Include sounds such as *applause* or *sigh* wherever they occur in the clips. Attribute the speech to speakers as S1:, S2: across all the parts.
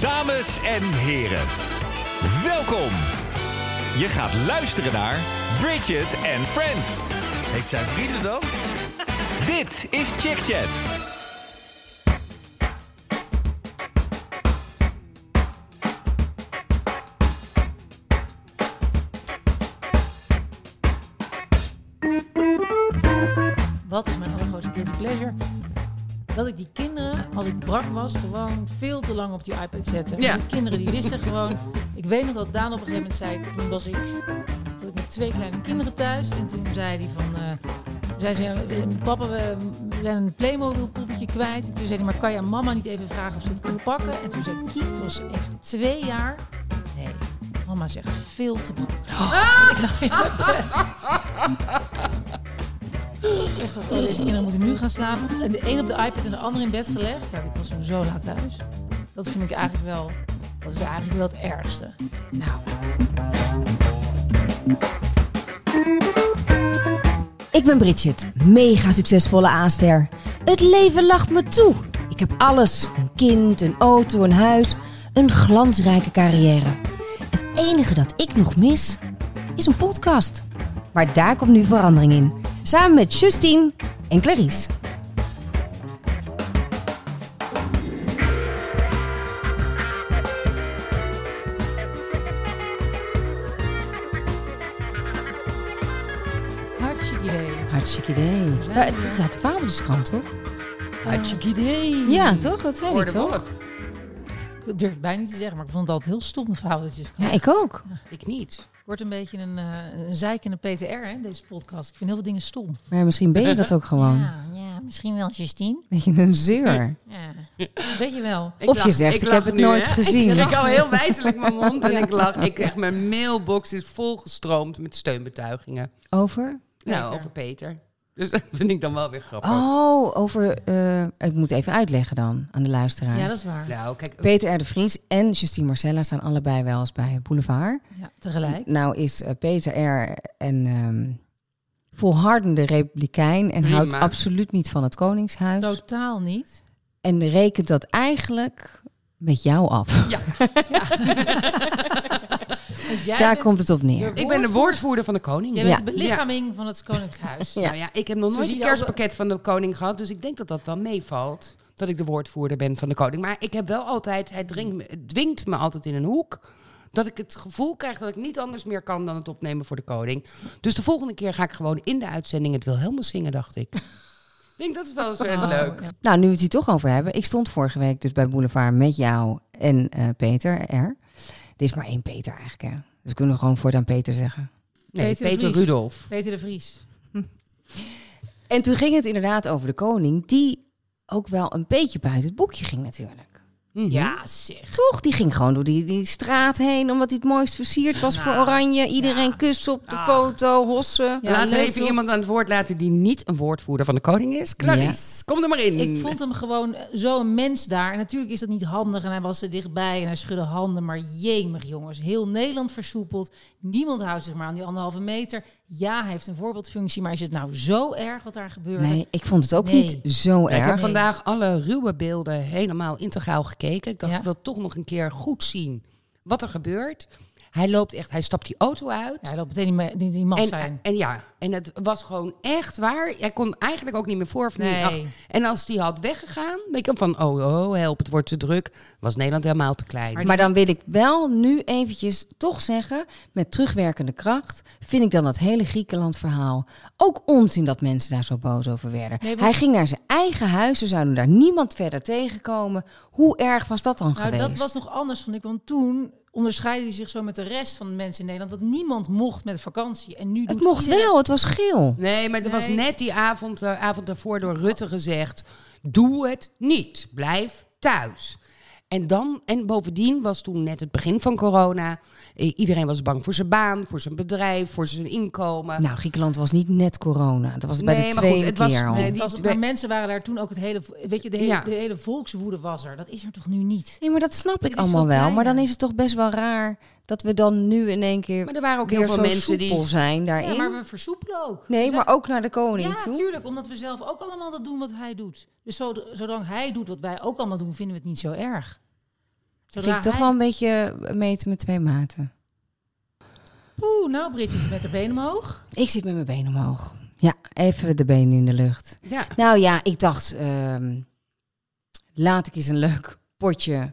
S1: Dames en heren, welkom. Je gaat luisteren naar Bridget and Friends.
S2: Heeft zij vrienden dan?
S1: Dit is Chick Chat.
S3: Wat is mijn allergrootste guilty pleasure? Dat ik die kinderen, als ik brak was, gewoon veel te lang op die iPad zette.
S4: Ja.
S3: En Die kinderen die wisten gewoon... Ik weet nog dat Daan op een gegeven moment zei... Toen was ik, zat ik met twee kleine kinderen thuis. En toen zei hij van... eh, toen zei ze, eh, papa, we we zijn een Playmobil poppetje kwijt. En toen zei hij, maar kan je aan mama niet even vragen of ze het kan pakken? En toen zei ik, Kiet, het was echt twee jaar. Nee, mama zegt veel te brak. Ik lag in mijn bed. Echt dat oh, deze kinderen moeten nu gaan slapen. En de een op de iPad en de ander in bed gelegd. Ja, ik was toen zo laat thuis. Dat vind ik eigenlijk wel. Dat is eigenlijk wel het ergste. Nou,
S5: Ik ben Bridget, mega succesvolle aanster. Het leven lacht me toe. Ik heb alles: een kind, een auto, een huis, een glansrijke carrière. Het enige dat ik nog mis is een podcast. Maar daar komt nu verandering in. Samen met Justine en Clarice.
S3: hartstikke idee.
S5: Hartstikke idee.
S3: zijn
S5: Maar
S3: we
S5: Het staat de Fabeltjeskrant, toch?
S3: Hartstikke idee. Hmm.
S5: Ja, toch? Dat zei
S4: Voor
S5: ik
S4: de
S5: toch?
S4: wolk.
S3: Ik durf het bijna niet te zeggen, maar ik vond het altijd heel stom, de verhaaltjes.
S5: Ja, ik ook.
S4: Ik niet.
S3: wordt een beetje een, eh een zeikende PTR, hè, deze podcast. Ik vind heel veel dingen stom.
S5: Maar misschien ben je dat ook gewoon.
S3: Ja, ja, misschien wel Justine.
S5: Dat je een zeur.
S3: Ja, weet je wel.
S4: Ik
S5: Of je
S4: lach-
S5: zegt, ik
S4: lach
S5: heb het
S4: nu,
S5: nooit
S4: hè.
S5: gezien.
S4: Ik hou heel wijselijk mijn mond en ik lach. Ik echt, mijn mailbox is volgestroomd met steunbetuigingen.
S5: Over?
S4: Nou, over Peter. Dus *laughs* dat vind ik dan wel weer grappig.
S5: Oh, over. eh, ik moet even uitleggen dan aan de luisteraar.
S3: Ja, dat is waar.
S4: Nou, kijk,
S5: Peter R. de Vries en Justine Marcella staan allebei wel eens bij Boulevard.
S3: Ja, tegelijk.
S5: Nou is eh, Peter R. een ehm, volhardende republikein en
S4: Prima.
S5: houdt absoluut niet van het Koningshuis.
S3: Totaal niet.
S5: En rekent dat eigenlijk met jou af.
S3: *laughs* Want jij
S5: Daar
S3: bent-
S5: komt het op neer.
S3: Jij
S4: ik ben de woordvoerder van de koning.
S3: Jij
S5: Ja.
S3: bent de belichaming van het Koninklijk Huis.
S5: Ja.
S4: Nou ja, ik heb nog
S3: Zo
S4: nooit
S3: zie
S4: een
S3: je altijd-
S4: kerstpakket van de koning gehad. Dus ik denk dat dat wel meevalt. Dat ik de woordvoerder ben van de koning. Maar ik heb wel altijd, hij dringt me- het dwingt me altijd in een hoek. Dat ik het gevoel krijg dat ik niet anders meer kan dan het opnemen voor de koning. Dus de volgende keer ga ik gewoon in de uitzending het Wilhelmus zingen, dacht ik. ik denk dat is wel eens weer
S3: Oh,
S4: leuk.
S3: ja.
S5: Nou, nu we het hier toch over hebben. Ik stond vorige week dus bij Boulevard met jou en eh, Peter R. Er is maar één Peter eigenlijk, hè? Dus we kunnen gewoon voortaan Peter zeggen.
S4: Nee,
S3: Peter
S4: Peter,
S3: Vries.
S4: Rudolf.
S3: Peter de Vries.
S5: En toen ging het inderdaad over de koning, die ook wel een beetje buiten het boekje ging natuurlijk.
S4: Mhm.
S3: Ja, zeg.
S5: Toch, die ging gewoon door die, die straat heen, omdat hij het mooist versierd was voor oranje. Iedereen
S3: Nou, ja.
S5: kus op de
S3: Ach.
S5: foto, hossen.
S3: Ja,
S4: laten we
S3: leuk,
S4: even
S3: toch?
S4: iemand aan het woord laten die niet een woordvoerder van de koning is. Clarice, kom er maar in.
S3: Ik vond hem gewoon eh, zo'n mens daar. En natuurlijk is dat niet handig. En hij was er dichtbij en hij schudde handen. Maar jemig, jongens. Heel Nederland versoepeld. Niemand houdt zich maar aan die anderhalve meter. Ja, hij heeft een voorbeeldfunctie. Maar is het nou zo erg wat daar gebeurde?
S5: Nee, ik vond het ook
S3: Nee.
S5: niet zo
S4: Ja, ik heb
S5: erg.
S4: vandaag alle ruwe beelden helemaal integraal gekeken. Ik dacht,
S3: Ja.
S4: ik wil toch nog een keer goed zien wat er gebeurt. Hij loopt echt, hij stapt die auto uit.
S3: Ja, dat meteen die, ma- die, die
S5: eh,
S3: mast
S4: en,
S3: zijn.
S4: en ja, en het was gewoon echt waar. Hij kon eigenlijk ook niet meer voor of
S3: Nee.
S4: niet achter. En als die had weggegaan, denk ik van, oh, oh, help, het wordt te druk. Was Nederland helemaal te klein.
S5: Maar dan wil ik wel nu eventjes toch zeggen, met terugwerkende kracht, vind ik dan dat hele Griekenland verhaal ook onzin dat mensen daar zo boos over werden.
S3: Nee, maar-
S5: Hij ging naar zijn eigen huis, ze zouden daar niemand verder tegenkomen. Hoe erg was dat dan
S3: Nou,
S5: geweest?
S3: dat was nog anders, vond ik. Want toen onderscheidde hij zich zo met de rest van de mensen in Nederland. Want niemand mocht met vakantie. En nu
S5: het
S3: doet
S5: mocht
S3: iedereen-
S5: wel, het was geel.
S4: Nee, maar er was
S3: Nee.
S4: net die avond, de avond daarvoor door Rutte gezegd: doe het niet, blijf thuis. En, dan, en bovendien was toen net het begin van corona. I- Iedereen was bang voor zijn baan, voor zijn bedrijf, voor zijn inkomen.
S5: Nou, Griekenland was niet net corona. Dat was het bij
S4: Nee,
S5: de
S4: maar goed,
S5: tweede
S4: het was-
S5: keer al.
S3: Nee,
S4: Nee,
S3: het
S4: die
S3: was,
S4: twee-
S3: maar mensen waren daar toen ook het hele, weet je, de hele,
S4: Ja.
S3: de hele volkswoede was er. Dat is er toch nu niet?
S5: Nee, maar dat snap ik
S3: is
S5: allemaal
S3: veel
S5: wel. Maar
S3: kleiner.
S5: dan is het toch best wel raar dat we dan nu in één keer
S4: Maar er waren ook heel
S5: weer
S4: veel
S5: zo
S4: mensen die.
S5: soepel zijn daarin.
S3: Ja, maar we versoepelen ook.
S5: Nee,
S3: We
S5: maar ook naar de koning
S3: Ja,
S5: toe.
S3: natuurlijk, omdat we zelf ook allemaal dat doen wat hij doet. Dus zo- zolang hij doet wat wij ook allemaal doen, vinden we het niet zo erg.
S5: Vind
S3: Zodra
S5: ik toch
S3: hij-
S5: wel een beetje meten met twee maten.
S3: Oeh, nou, Bridget is met haar benen omhoog.
S5: Ik zit met mijn benen omhoog. Ja, even de benen in de lucht.
S4: Ja.
S5: Nou ja, ik dacht, ehm, laat ik eens een leuk potje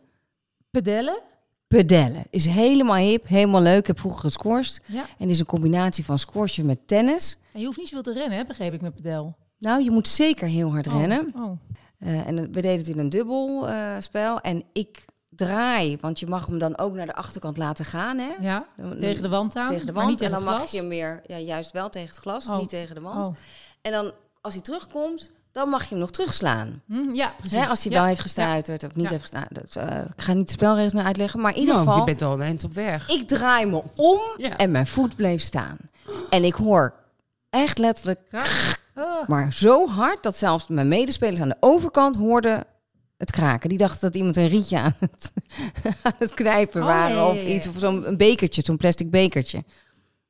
S3: Pedellen.
S5: pedellen. Is helemaal hip, helemaal leuk. Ik heb vroeger gescoorst.
S3: Ja.
S5: En is een combinatie van squashen met tennis.
S3: En je hoeft niet zoveel te rennen, hè, begreep ik met pedel.
S5: Nou, je moet zeker heel hard rennen.
S3: Oh, oh.
S5: Eh, en we deden het in een dubbel eh, spel. En ik draai, want je mag hem dan ook naar de achterkant laten gaan. Hè?
S3: Ja, tegen de wand aan.
S5: Tegen de
S3: maar
S5: wand.
S3: niet tegen
S5: en dan
S3: het
S5: mag
S3: glas.
S5: je hem weer, ja, juist wel tegen het glas,
S3: Oh.
S5: niet tegen de wand.
S3: Oh.
S5: En dan, als hij terugkomt, dan mag je hem nog terugslaan.
S3: Hm, ja, precies.
S5: Hè, als hij
S3: Ja.
S5: wel heeft gestuiterd of niet
S3: Ja.
S5: heeft gestuiterd. Eh, ik ga niet de spelregels meer uitleggen, maar in ieder
S4: Nou,
S5: geval...
S4: je bent al een eind op weg.
S5: Ik draai me om
S4: Ja.
S5: en mijn voet bleef staan. En ik hoor echt letterlijk,
S3: Kraak. Ah.
S5: maar zo hard dat zelfs mijn medespelers aan de overkant hoorden het kraken. Die dachten dat iemand een rietje aan het, *laughs* aan het knijpen
S3: Oh,
S5: waren
S3: ja, ja,
S5: of
S3: ja,
S5: iets,
S3: ja.
S5: of zo'n een bekertje, zo'n plastic bekertje.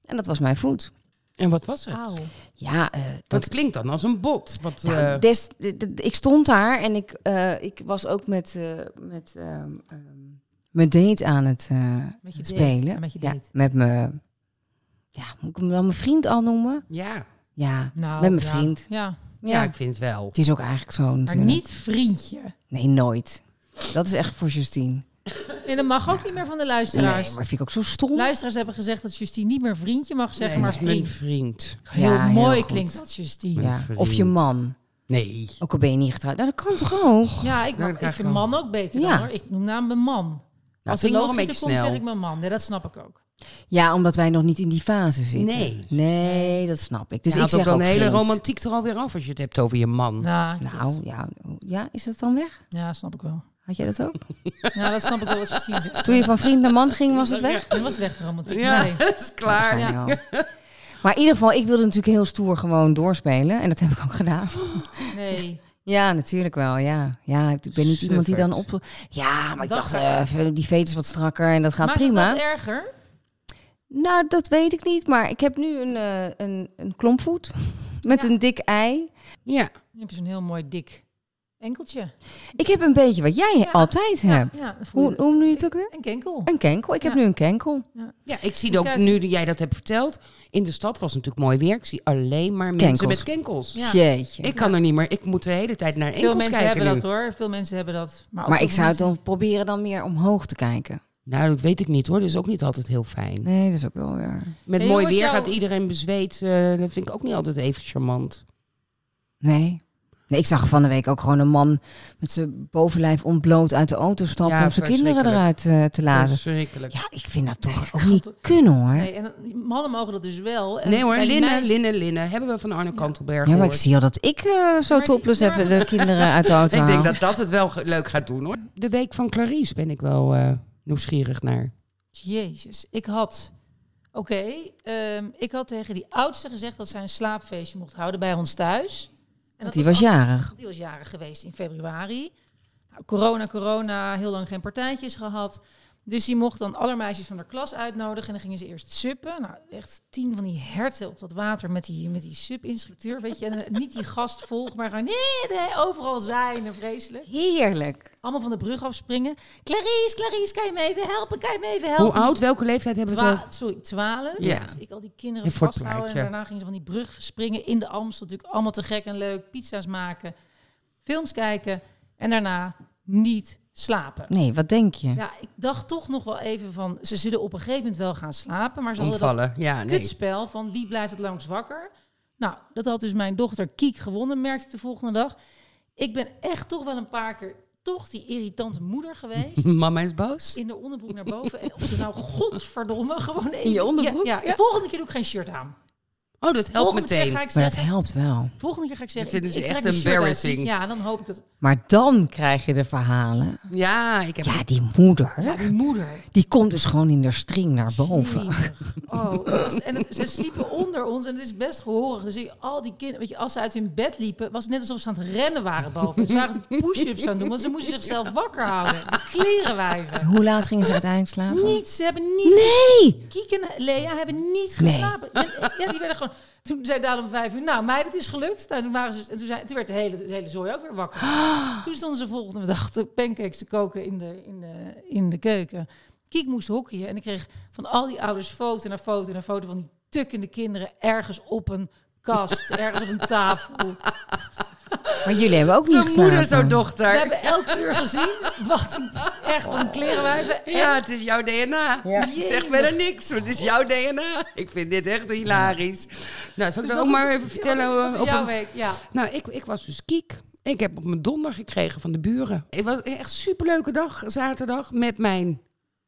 S5: En dat was mijn voet.
S4: En wat was het?
S3: Auw.
S5: Ja, eh,
S4: Dat klinkt dan als een bot. Wat,
S5: Nou,
S4: eh,
S5: des- d- d- ik stond daar en ik, eh, ik was ook met, eh, met ehm, ehm, mijn date aan het eh,
S3: Met je date.
S5: spelen.
S3: Ja, met je date.
S5: met mijn, ja, moet ik hem dan mijn vriend al noemen?
S4: ja.
S5: Ja,
S3: Nou,
S5: met mijn
S3: ja.
S5: vriend.
S3: Ja,
S5: Ja.
S4: ja, ik vind het wel.
S5: Het is ook eigenlijk zo
S3: maar
S5: natuurlijk.
S3: niet vriendje.
S5: Nee, nooit. Dat is echt voor Justine.
S3: En dat mag ook niet meer van de
S5: Nee,
S3: luisteraars.
S5: maar vind ik ook zo stom.
S3: Luisteraars hebben gezegd dat Justine niet meer vriendje mag zeggen,
S4: Nee,
S3: maar
S4: het is mijn
S3: vriend.
S4: vriend.
S3: Heel
S5: Ja, heel
S3: mooi
S5: goed.
S3: klinkt dat, Justine. Ja,
S5: ja.
S4: vriend.
S5: Of je man.
S4: Nee.
S5: Ook al ben je niet getrouwd. Nou, dat kan toch ook?
S3: ik,
S4: Nou, dan
S3: mag, ik
S4: krijg ik
S3: vind
S4: al-
S3: man ook beter
S5: Ja.
S3: dan, hoor. Ik noem naam mijn
S5: Nou,
S3: man. Als
S4: Dat
S3: er
S4: ging nog een beetje
S3: loodgieter komt, zeg
S4: snel.
S3: ik mijn man. Nee, dat snap ik ook.
S5: Ja, omdat wij nog niet in die fase zitten.
S4: Nee.
S5: Nee, dat snap ik. Dus
S4: Dus
S5: ik zeg
S4: dan
S5: ook
S4: de hele
S5: vriend.
S4: romantiek er alweer af als je het hebt over je man.
S3: Nou,
S5: Nou, ja, ja, is dat dan weg?
S3: ja, snap ik wel.
S5: Had jij dat ook?
S3: Ja, dat snap ik wel wat Justine zegt.
S5: Toen je van vriend naar man ging, was het weg?
S3: Dat was weg, de romantiek. Nee.
S4: dat is klaar.
S5: Ja. nou. Maar in ieder geval, ik wilde natuurlijk heel stoer gewoon doorspelen. En dat heb ik ook gedaan.
S3: nee.
S5: Ja, natuurlijk wel. Ja, ja ik ben niet iemand die dan op... Ja, maar ik
S3: Dat
S5: dacht,
S3: gaat-
S5: eh, even die veet is wat strakker en dat gaat
S3: Maakt
S5: prima.
S3: het dat erger?
S5: Nou, dat weet ik niet. Maar ik heb nu een, eh, een, een klompvoet *laughs* met
S3: Ja.
S5: een dik ei.
S4: Ja.
S3: Dan heb je zo'n heel mooi dik enkeltje.
S5: Ik heb een beetje wat jij
S3: Ja.
S5: altijd hebt.
S3: Ja, dan voel je
S5: Hoe, hoe noem je het ook weer?
S3: Een kenkel.
S5: Een kenkel. Ik heb
S3: Ja.
S5: nu een kenkel.
S4: ja, ik zie ook
S3: Kijk.
S4: nu dat jij dat hebt verteld. In de stad was het natuurlijk mooi weer. Ik zie alleen maar mensen
S5: Kenkels.
S4: met kenkels.
S3: Ja.
S5: Jeetje.
S4: Ik kan er niet meer. Ik moet de hele tijd naar
S3: Veel
S4: enkels
S3: mensen
S4: kijken
S3: hebben
S4: nu.
S3: dat hoor. Veel mensen hebben dat. Maar, ook
S5: maar
S3: heel
S5: ik
S3: veel
S5: zou het
S3: mensen-
S5: dan proberen dan meer omhoog te kijken.
S4: Nou, dat weet ik niet hoor. Dat is ook niet altijd heel fijn.
S5: Nee, dat is ook wel weer...
S3: Hey,
S4: Met mooi
S3: jongens,
S4: weer
S3: jou-
S4: gaat iedereen bezweet. eh, dat vind ik ook niet altijd even charmant.
S5: Nee. Nee, ik zag van de week ook gewoon een man met zijn bovenlijf ontbloot uit de auto stappen
S4: Ja,
S5: om zijn kinderen eruit
S4: verschrikkelijk.
S5: eh, te laten.
S4: Verschrikkelijk.
S5: Ja, ik vind dat toch ook niet kunnen hoor.
S3: Nee, en dan- mannen mogen dat dus wel. En
S4: Nee hoor,
S3: bij die
S4: linnen,
S3: meisjes-
S4: linnen, linnen. Hebben we van Arne Kantelberg
S5: ja, maar ik
S4: gehoord.
S5: zie al dat ik eh, zo
S3: Maar die-
S5: topless
S3: ja,
S5: even de kinderen
S3: *laughs*
S5: uit de auto
S4: Ik denk
S5: haal.
S4: dat dat het wel ge- leuk gaat doen hoor. De week van Clarice ben ik wel eh, nieuwsgierig naar.
S3: Jezus, ik had... Oké, ehm, ik had tegen die oudste gezegd dat zij een slaapfeestje mocht houden bij ons thuis. En dat
S5: Die was
S3: af-
S5: jarig.
S3: Die was jarig geweest in februari. Nou, corona, corona, heel lang geen partijtjes gehad. Dus die mocht dan alle meisjes van haar klas uitnodigen. En dan gingen ze eerst suppen. Nou, echt tien van die herten op dat water met die, met die sub-instructeur, weet je. En eh, niet die gast volgen, maar gewoon nee, nee, overal zijn en vreselijk.
S5: Heerlijk.
S3: Allemaal van de brug afspringen. Clarice, Clarice, kan je me even helpen? Kan je me even helpen?
S4: Hoe oud, welke leeftijd hebben we het
S3: Twa
S4: over?
S3: sorry, 12.
S4: Ja.
S3: Dus ik al die kinderen
S4: Ja, voor het
S3: vasthouden. En
S4: plaatje.
S3: daarna gingen ze van die brug springen in de Amstel. Natuurlijk allemaal te gek en leuk. Pizza's maken. Films kijken. En daarna niet slapen.
S5: Nee, wat denk je?
S3: Ja, ik dacht toch nog wel even van... Ze zullen op een gegeven moment wel gaan slapen. Maar ze hadden dat
S4: Omvallen, ja, nee.
S3: kutspel van wie blijft het langs wakker. Nou, dat had dus mijn dochter Kiek gewonnen, merkte ik de volgende dag. Ik ben echt toch wel een paar keer toch die irritante moeder
S4: *laughs*
S3: geweest.
S4: Mama is boos.
S3: in de onderbroek naar boven. En of ze nou godverdomme gewoon even...
S5: In je onderbroek?
S3: Ja, ja. de volgende keer doe ik geen shirt aan.
S4: Oh, dat helpt
S3: Volgende keer
S4: meteen.
S3: ga ik
S5: Maar dat
S3: zeggen...
S5: helpt wel.
S3: Volgende keer ga ik zeggen...
S4: Dit is
S3: ik, ik trek
S4: echt
S3: mijn shirt uit.
S4: embarrassing.
S3: Ja, dan hoop ik dat...
S5: Maar dan krijg je de verhalen.
S4: Ja, ik heb
S5: Ja, die moeder,
S3: Ja, die moeder.
S5: die komt dus gewoon in haar string naar boven.
S3: Jemig. Oh, het was- en het- ze sliepen onder ons en het is best gehorig. Dus ik- al die kinderen, weet je, als ze uit hun bed liepen, was het net alsof ze aan het rennen waren boven. Ze waren push-ups aan het doen, want ze moesten zichzelf wakker houden. De klerenwijven.
S5: Hoe laat gingen ze uiteindelijk slapen?
S3: Niet, ze hebben niet
S5: Nee!
S3: Kiek en Lea hebben niet
S5: Nee.
S3: geslapen. En, ja, die werden gewoon begonnen. Toen zei Daan om vijf uur, nou meid, het is gelukt. Nou, toen waren ze, en toen, zei, toen werd de hele, de hele zooi ook weer
S4: *gasps*
S3: wakker. Toen stonden ze volgende dag de pancakes te koken in de, in de, in de keuken. Kiek moest hockeyen en ik kreeg van al die ouders foto naar foto naar foto van die tukkende kinderen ergens op een
S4: *laughs*
S3: kast, ergens op een tafel.
S6: Maar jullie hebben ook niet
S4: Zo'n
S6: geslapen.
S4: moeder, zo'n
S3: We
S4: dochter.
S3: hebben elk uur gezien wat een, echt wat een klerenwijven.
S4: Ja, het is jouw DNA.
S6: Ja.
S4: Ik Zeg verder niks, want het is jouw DNA. Ik vind dit echt hilarisch. Nou, zal
S3: Dus
S4: ik dan
S3: dat
S4: ook maar
S3: is-
S4: even vertellen?
S3: ja, dat is
S4: hoe-
S3: jouw
S4: op een-
S3: week, ja.
S4: Nou, ik, ik was dus kiek. Ik heb op mijn donder gekregen van de buren. Het was een echt superleuke dag, zaterdag, met mijn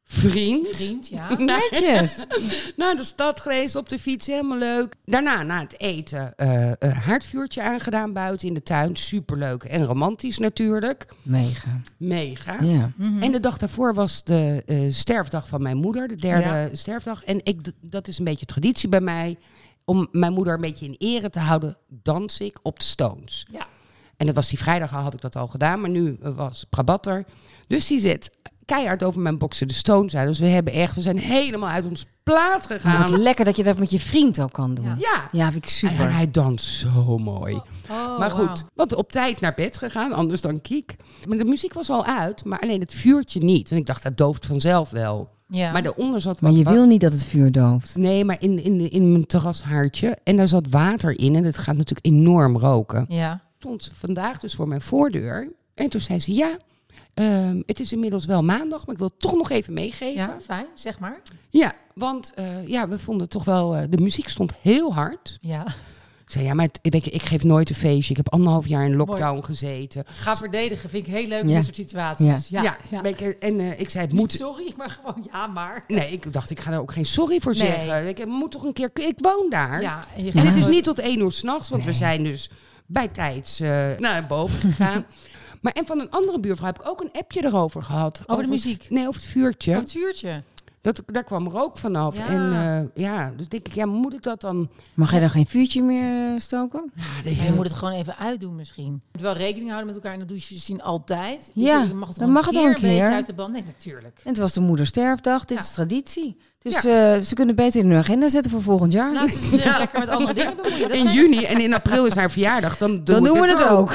S4: vriend.
S3: Vriend, ja.
S4: *laughs* Naar,
S6: Netjes.
S4: *laughs* naar de stad geweest, op de fiets, helemaal leuk. Daarna, na het eten, eh, een haardvuurtje aangedaan buiten in de tuin. Superleuk en romantisch natuurlijk.
S6: Mega.
S4: Mega.
S6: Ja.
S4: En de dag daarvoor was de eh, sterfdag van mijn moeder, de derde
S3: Ja.
S4: sterfdag. En ik, d- dat is een beetje traditie bij mij. Om mijn moeder een beetje in ere te houden, dans ik op de Stones.
S3: ja.
S4: En dat was die vrijdag al, had ik dat al gedaan, maar nu eh, was Prabatter. Dus die zit keihard over mijn boksen de Stones uit. Dus we hebben echt, we zijn helemaal uit ons plaat
S6: Maar wat
S4: gegaan.
S6: lekker dat je dat met je vriend ook kan doen.
S4: Ja.
S6: Ja, vind ik
S4: En
S6: super.
S4: hij danst zo mooi.
S3: Oh,
S4: maar goed,
S3: wauw.
S4: want op tijd naar bed gegaan, anders dan kiek. Maar de muziek was al uit, maar alleen het vuurtje niet. Want ik dacht, dat dooft vanzelf wel.
S3: Ja.
S4: Maar daaronder zat
S6: Maar
S4: wat-
S6: je
S4: wat-
S6: wil niet dat het vuur dooft.
S4: Nee, maar in, in, in mijn terrashaartje. En daar zat water in en het gaat natuurlijk enorm roken.
S3: ja.
S4: Stond ze vandaag dus voor mijn voordeur. En toen zei ze, ja, ehm, het is inmiddels wel maandag, maar ik wil het toch nog even meegeven. Ja,
S3: ja, fijn, zeg maar.
S4: want eh, ja, we vonden toch wel, eh, de muziek stond heel hard.
S3: Ja.
S4: Ik zei, ja, maar het- ik, denk, ik geef nooit een feestje. Ik heb anderhalf jaar in lockdown gezeten.
S3: Ga verdedigen, vind ik heel leuk in
S6: Ja.
S3: dit soort situaties. Ja,
S4: Ja,
S3: ja.
S4: ben ik- en eh, ik zei, het
S3: Niet
S4: moet...
S3: sorry, maar gewoon ja, maar.
S4: Nee, ik dacht, ik ga daar ook geen sorry voor
S3: Nee.
S4: zeggen. Ik, ik moet toch een keer... Ik woon daar.
S3: Ja, en, je
S4: En
S3: gaat
S4: het is
S3: nooit-
S4: niet tot één uur s'nachts, want we zijn dus bij tijds eh, naar boven
S3: *laughs*
S4: gegaan. maar en van een andere buurvrouw heb ik ook een appje erover gehad. Over,
S3: de
S4: het-
S3: muziek?
S4: nee, over het vuurtje.
S3: Oh, het vuurtje.
S4: Dat, daar kwam rook vanaf.
S3: Ja.
S4: En eh, ja, dus denk ik, ja, moet ik dat dan...
S6: Mag jij dan geen vuurtje meer eh, stoken?
S4: Ja,
S3: Ja, je moet het gewoon even uitdoen misschien. Je moet wel rekening houden met elkaar in de douche. Je zien altijd.
S6: Ja,
S3: je toch
S6: dan
S3: een
S6: mag het
S3: keer
S6: wel een keer.
S3: beetje uit de band. Nee, natuurlijk.
S6: En het was de moedersterfdag. Dit
S3: Ja.
S6: is traditie. Dus eh, ze kunnen beter in hun agenda zetten voor volgend jaar.
S3: Laten ze zich lekker met andere dingen bemoeien. Dat
S4: in
S3: zijn-
S4: juni en in april is haar verjaardag. Dan, doe
S6: dan
S4: ik
S6: doen we het ook.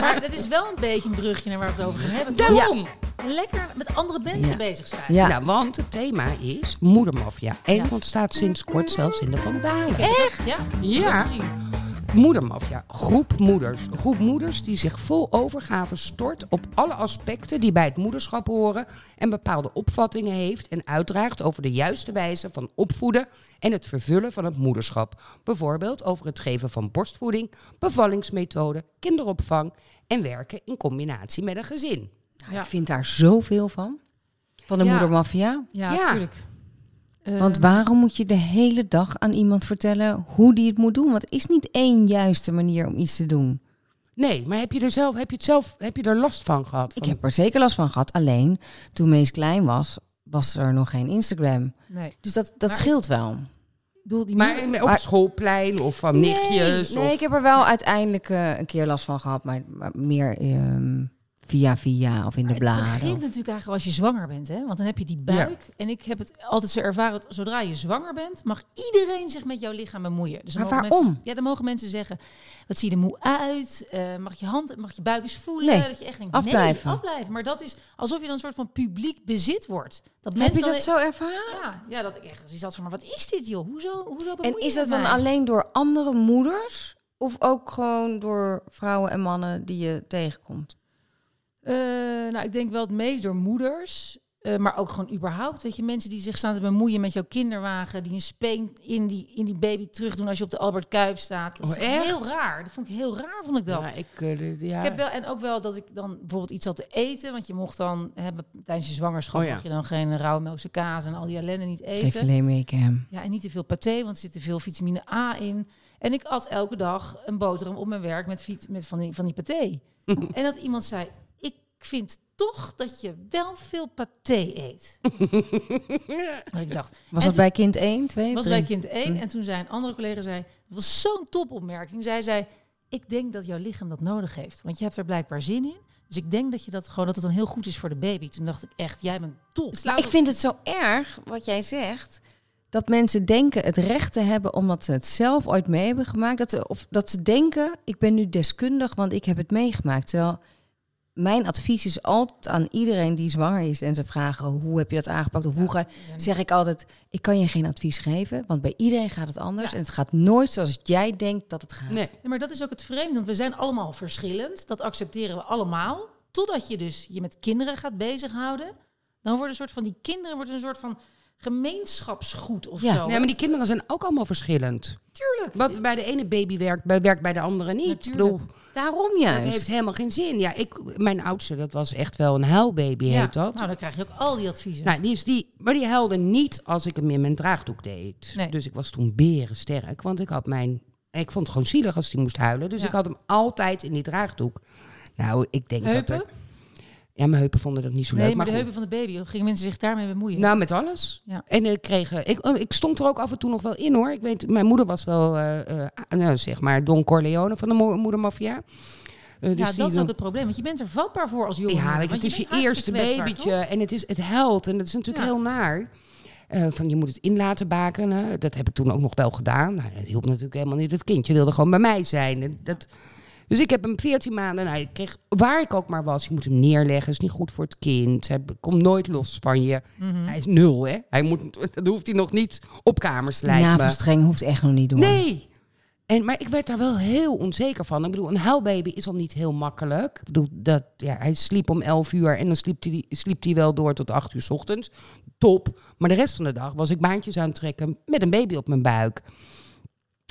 S3: Maar dat is wel een beetje een brugje naar waar we het over gaan hebben.
S4: Daarom!
S3: Lekker met andere mensen
S6: Ja.
S3: bezig zijn.
S6: Ja.
S4: Nou, want het thema is moedermafia. En
S3: Ja.
S4: dat staat sinds kort zelfs in de Vandalen.
S3: Echt? Ja.
S4: Ja.
S3: Dat gezien.
S4: Moedermafia, groep moeders. Een groep moeders die zich vol overgave stort op alle aspecten die bij het moederschap horen en bepaalde opvattingen heeft en uitdraagt over de juiste wijze van opvoeden en het vervullen van het moederschap. Bijvoorbeeld over het geven van borstvoeding, bevallingsmethoden, kinderopvang en werken in combinatie met een gezin.
S3: Ja.
S6: Ik vind daar zoveel van. Van de
S3: Ja.
S6: moedermafia.
S3: Ja,
S4: Ja.
S3: natuurlijk. Eh,
S6: Want waarom moet je de hele dag aan iemand vertellen hoe die het moet doen? Want er is niet één juiste manier om iets te doen.
S4: Nee, maar heb je er zelf, heb je het zelf, heb je er last van gehad?
S6: Ik
S4: Van-
S6: heb er zeker last van gehad. Alleen toen Mees klein was, was er nog geen Instagram.
S3: nee. Ik
S6: Dus dat, dat
S3: Maar
S6: scheelt wel.
S3: bedoel, die
S4: maar
S3: moeder-
S4: in- op
S6: Maar-
S4: het schoolplein of van nichtjes?
S6: Nee,
S4: of-
S6: nee, ik heb er wel uiteindelijk eh, een keer last van gehad, maar, maar meer ehm, via via of in de
S3: Het begint
S6: bladen.
S3: natuurlijk eigenlijk als je zwanger bent, hè? Want dan heb je die
S4: Ja.
S3: buik. En ik heb het altijd zo ervaren dat zodra je zwanger bent, mag iedereen zich met jouw lichaam bemoeien. Dus dan
S6: Maar
S3: mogen
S6: waarom?
S3: Mensen, ja, dan mogen mensen zeggen: wat zie je er moe uit? Eh, mag je hand, mag je buik eens voelen?
S6: Nee,
S3: dat je echt denkt:
S6: afblijven.
S3: Nee, afblijven. Maar dat is alsof je dan een soort van publiek bezit wordt. Dat
S6: Heb
S3: mensen
S6: je dat
S3: dan-
S6: zo ervaren?
S3: Ja, ja, dat ik echt. Dus dat van: maar wat is dit, joh? Hoezo? Hoezo bemoei
S6: En
S3: je
S6: is
S3: je
S6: dat
S3: met
S6: dan
S3: mij?
S6: alleen door andere moeders? Of ook gewoon door vrouwen en mannen die je tegenkomt?
S3: Eh, nou, ik denk wel het meest door moeders. eh, maar ook gewoon überhaupt. Weet je, mensen die zich staan te bemoeien met jouw kinderwagen. Die een speen in die, in die baby terugdoen als je op de Albert Kuip staat. Dat is
S4: Oh, echt?
S3: heel raar. Dat vond ik heel raar, vond ik dat.
S4: Ja, ik, eh, ja.
S3: Ik heb wel, en ook wel dat ik dan bijvoorbeeld iets had te eten. Want je mocht dan hè, be- tijdens je zwangerschap
S4: Oh, ja.
S3: mag je dan geen rauwe melkse kaas en al die ellende niet
S6: Geen
S3: eten.
S6: filet hem.
S3: Ja, en niet te veel paté, want er zit te veel vitamine A in. En ik at elke dag een boterham op mijn werk met, vit- met van, die, van die paté. en dat iemand zei, ik vind toch dat je wel veel paté eet. en ik dacht,
S6: Was
S3: En
S6: dat bij Hm. kind 1, 2
S3: was
S6: of
S3: bij
S6: 3?
S3: kind 1. En toen zei een andere collega, zei, dat was zo'n topopmerking. Zij zei, ik denk dat jouw lichaam dat nodig heeft. Want je hebt er blijkbaar zin in. Dus ik denk dat je dat gewoon dat het dan heel goed is voor de baby. Toen dacht ik echt, jij bent top.
S6: Ik vind het zo erg wat jij zegt.
S5: dat mensen denken het recht te hebben omdat ze het zelf ooit mee hebben gemaakt. Dat ze, of dat ze denken, ik ben nu deskundig, want ik heb het meegemaakt. Terwijl mijn advies is altijd aan iedereen die zwanger is en ze vragen hoe heb je dat aangepakt of hoe ga zeg ik altijd ik kan je geen advies geven want bij iedereen gaat het anders
S3: Ja.
S5: en het gaat nooit zoals jij denkt dat het gaat.
S4: Nee.
S3: Ja, maar dat is ook het vreemde, want we zijn allemaal verschillend. Dat accepteren we allemaal. Totdat je dus je met kinderen gaat bezighouden. Dan wordt een soort van, die kinderen wordt een soort van gemeenschapsgoed of
S5: Ja.
S3: zo.
S4: Nee, maar die kinderen zijn ook allemaal verschillend.
S3: natuurlijk.
S4: Wat bij de ene baby werkt, bij, werkt bij de andere niet. Ik
S3: Natuurlijk.
S4: bedoel,
S5: Daarom
S4: het
S5: juist.
S4: heeft helemaal geen zin. Ja, ik, mijn oudste, dat was echt wel een huilbaby,
S3: Ja.
S4: heet dat.
S3: Nou, dan krijg je ook al die adviezen.
S4: Nou, die is die, maar die huilde niet als ik hem in mijn draagdoek deed.
S3: Nee.
S4: Dus ik was toen berensterk, want ik had mijn... Ik vond het gewoon zielig als hij moest huilen. Dus
S3: Ja.
S4: ik had hem altijd in die draagdoek. Nou, ik denk
S3: Heupen?
S4: dat er... Ja, mijn heupen vonden dat niet zo
S3: nee,
S4: leuk.
S3: maar de
S4: goed.
S3: heupen van de baby, hoe gingen mensen zich daarmee bemoeien?
S4: Nou, met alles.
S3: Ja.
S4: En ik kreeg... eh, Ik, oh, ik stond er ook af en toe nog wel in, hoor. Ik weet, mijn moeder was wel, eh, eh, ah, nou, zeg maar, Don Corleone van de mo- moedermafia. Eh, dus
S3: ja,
S4: die
S3: dat is
S4: dan-
S3: ook het probleem, want je bent er vatbaar voor als jongen. want
S4: Ja, weet je, het is je
S3: bent
S4: eerste
S3: hartstikke kwetsbaar,
S4: babytje en het, is, het huilt en dat is natuurlijk
S3: Ja.
S4: heel naar. Eh, van je moet het in laten bakenen. Dat heb ik toen ook nog wel gedaan. Nou, dat hielp natuurlijk helemaal niet. Het kindje wilde gewoon bij mij zijn. En Dat, dus ik heb hem 14 maanden. Nou, ik kreeg, waar ik ook maar was, je moet hem neerleggen. Is niet goed voor het kind. Hij komt nooit los van je.
S3: toch? Mhm.
S4: Hij is nul, hè? Hij moet, dat hoeft hij nog niet op kamers te lijken.
S5: Navelstreng hoeft echt nog niet doen.
S4: Nee. En, maar ik werd daar wel heel onzeker van. Ik bedoel, een huilbaby is al niet heel makkelijk. Ik bedoel, dat, ja, hij sliep om 11 uur en dan sliep hij, sliep hij wel door tot 8 uur 's ochtends. Top. Maar de rest van de dag was ik baantjes aan het trekken met een baby op mijn buik.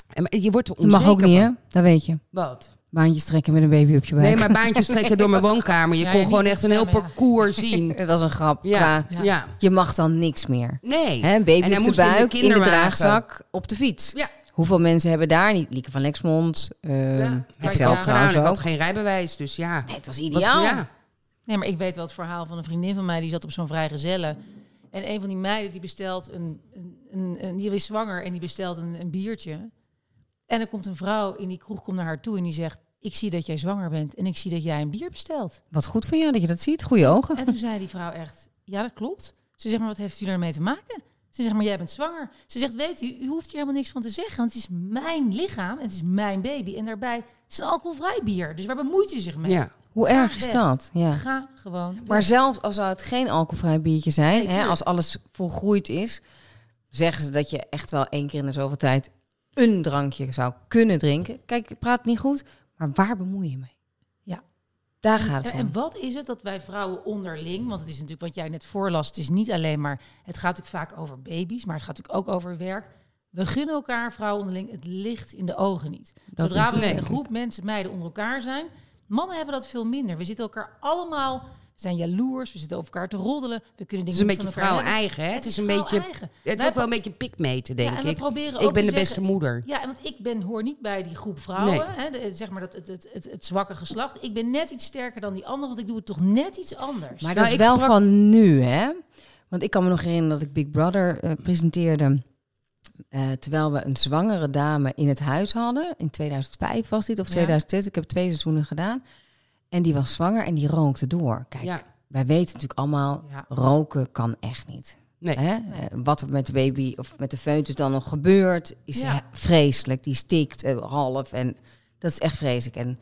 S4: En maar je wordt er
S5: Dat
S4: onzeker
S5: mag ook niet hè?
S4: van.
S5: Dat weet je.
S4: Wat?
S5: Baantjes trekken met een baby op je buik.
S4: Nee,
S5: *laughs*
S4: maar baantjes trekken door mijn woonkamer. Je
S3: Ja,
S4: kon
S3: ja,
S4: gewoon
S3: niet
S4: echt een heel
S3: samen, ja.
S4: parcours zien.
S5: Dat was een grap.
S4: Ja,
S5: *laughs* Ja.
S4: ja.
S5: Je mag dan niks meer.
S4: Nee.
S5: Hè, een
S4: En
S5: baby
S4: hij
S5: op de
S4: moest in de
S5: buik, in de,
S4: kinderwagen.
S5: draagzak, op de fiets.
S4: Ja.
S5: Hoeveel mensen hebben daar niet? Lieke van Lexmond, eh,
S4: Ja. Maar
S5: ik
S4: ik
S5: zelf
S4: had gedaan,
S5: trouwens
S4: Ik had
S5: ook.
S4: geen rijbewijs, dus ja.
S5: Nee, het was
S4: Was-
S5: ideaal.
S4: ja.
S3: Nee, maar ik weet wel het verhaal van een vriendin van mij die zat op zo'n vrijgezellen. En een van die meiden die bestelt een, een, een, een- die is zwanger en die bestelt een, een biertje. En er komt een vrouw in die kroeg komt naar haar toe en die zegt: Ik zie dat jij zwanger bent en ik zie dat jij een bier bestelt.
S5: Wat goed van jou dat je dat ziet. Goeie ogen.
S3: En toen zei die vrouw echt: Ja, dat klopt. Ze zegt: Maar wat heeft u daarmee te maken? Ze zegt: Maar jij bent zwanger. Ze zegt: Weet u, u hoeft hier helemaal niks van te zeggen, want het is mijn lichaam en het is mijn baby. En daarbij, het is een alcoholvrij bier. Dus waar bemoeit u zich mee?
S4: ja.
S5: Hoe erg is
S3: weg.
S5: dat? Ja.
S3: Ga gewoon. weg.
S5: Maar zelfs als zou het geen alcoholvrij biertje zijn,
S3: Nee,
S5: hè,
S3: tuurlijk.
S5: als alles volgroeid is, zeggen ze dat je echt wel één keer in de zoveel tijd een drankje zou kunnen drinken. Kijk, ik praat niet goed, maar waar bemoei je mee?
S3: Ja.
S5: Daar gaat het
S3: En, en
S5: om.
S3: wat is het dat wij vrouwen onderling, want het is natuurlijk wat jij net voorlas, het is niet alleen maar, het gaat natuurlijk vaak over baby's, maar het gaat natuurlijk ook over werk. We gunnen elkaar, vrouwen onderling, het licht in de ogen niet.
S5: Dat
S3: Zodra
S5: is
S3: we
S5: het,
S3: in een
S5: denk
S3: groep mensen, meiden onder elkaar zijn, mannen hebben dat veel minder. We zitten elkaar allemaal, we zijn jaloers, we zitten over elkaar te roddelen, we kunnen
S4: Het
S3: dingen
S4: is een
S3: niet
S4: beetje
S3: van elkaar
S4: vrouw eigen, hè? Het is een beetje...
S3: eigen.
S4: Het is
S3: Wij
S4: ook wel een beetje pikmeten, denk
S3: ja, en we
S4: ik.
S3: proberen ook
S4: Ik ben
S3: te
S4: de beste
S3: zeggen-
S4: moeder.
S3: Ja, want ik ben, hoor niet bij die groep vrouwen.
S4: Nee.
S3: Hè, de- zeg maar dat, het, het, het, het zwakke geslacht. Ik ben net iets sterker dan die anderen, want ik doe het toch net iets anders.
S4: Nou,
S5: Maar dat is
S4: ik
S5: wel
S4: sprak-
S5: van nu, hè? Want ik kan me nog herinneren dat ik Big Brother eh, presenteerde. eh, terwijl we een zwangere dame in het huis hadden. In 2005 was dit, of
S3: Ja.
S5: 2006. Ik heb twee seizoenen gedaan. En die was zwanger en die rookte door. Kijk,
S4: Ja.
S5: wij weten natuurlijk allemaal,
S3: Ja.
S5: roken kan echt niet.
S4: Nee.
S5: Hè? Eh, Wat er met de baby of met de foetus dan nog gebeurt, is
S3: Ja.
S5: he- vreselijk. Die stikt eh, half en dat is echt vreselijk. En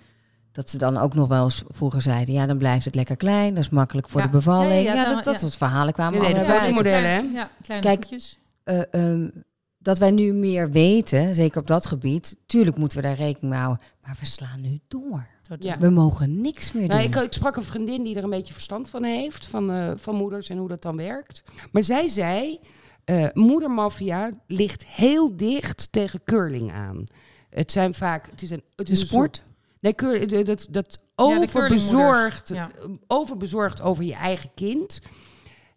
S5: dat ze dan ook nog wel eens vroeger zeiden, ja, dan blijft het lekker klein. Dat is makkelijk voor
S3: Ja.
S5: de bevalling.
S3: Ja, ja,
S5: Ja,
S3: ja, dan-
S5: dat, dat
S3: ja.
S5: soort verhalen kwamen
S4: Nee, nee,
S5: allemaal
S4: dat
S5: uit.
S4: was niet modellen, hè?
S3: Ja, kleine
S5: Kijk,
S3: voetjes.
S5: Eh, ehm, dat wij nu meer weten, zeker op dat gebied. Tuurlijk moeten we daar rekening mee houden. Maar we slaan nu door.
S3: Zo doen
S4: ja.
S3: we.
S5: We mogen niks meer doen.
S4: Nou, ik, ik sprak een vriendin die er een beetje verstand van heeft, van, eh, van moeders en hoe dat dan werkt. Maar zij zei, eh moedermafia ligt heel dicht tegen curling aan. Het zijn vaak, het is een, het is
S5: Een sport?
S4: soort- nee, cur- de- dat, dat
S3: Ja, de
S4: overbezorgd,
S3: curlingmoeders,
S4: overbezorgd over je eigen kind.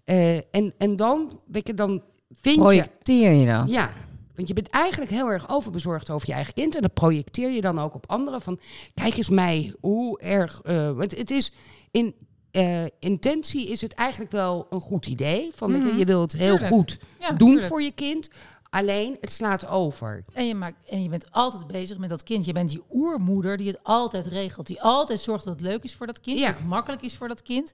S4: Eh, en, en dan, weet je, dan vind je
S5: Projecteer je dat?
S4: Ja, want je bent eigenlijk heel erg overbezorgd over je eigen kind. En dat projecteer je dan ook op anderen. Van, kijk eens mij, hoe erg... eh, want het is in eh, intentie is het eigenlijk wel een goed idee. Van, weet je, je wil het heel
S3: Mhm. Tuurlijk.
S4: goed
S3: Ja,
S4: doen
S3: tuurlijk.
S4: voor je kind. Alleen, het slaat over.
S3: En je, maakt, en je bent altijd bezig met dat kind. Je bent die oermoeder die het altijd regelt. Die altijd zorgt dat het leuk is voor dat kind.
S4: Ja.
S3: Dat het makkelijk is voor dat kind.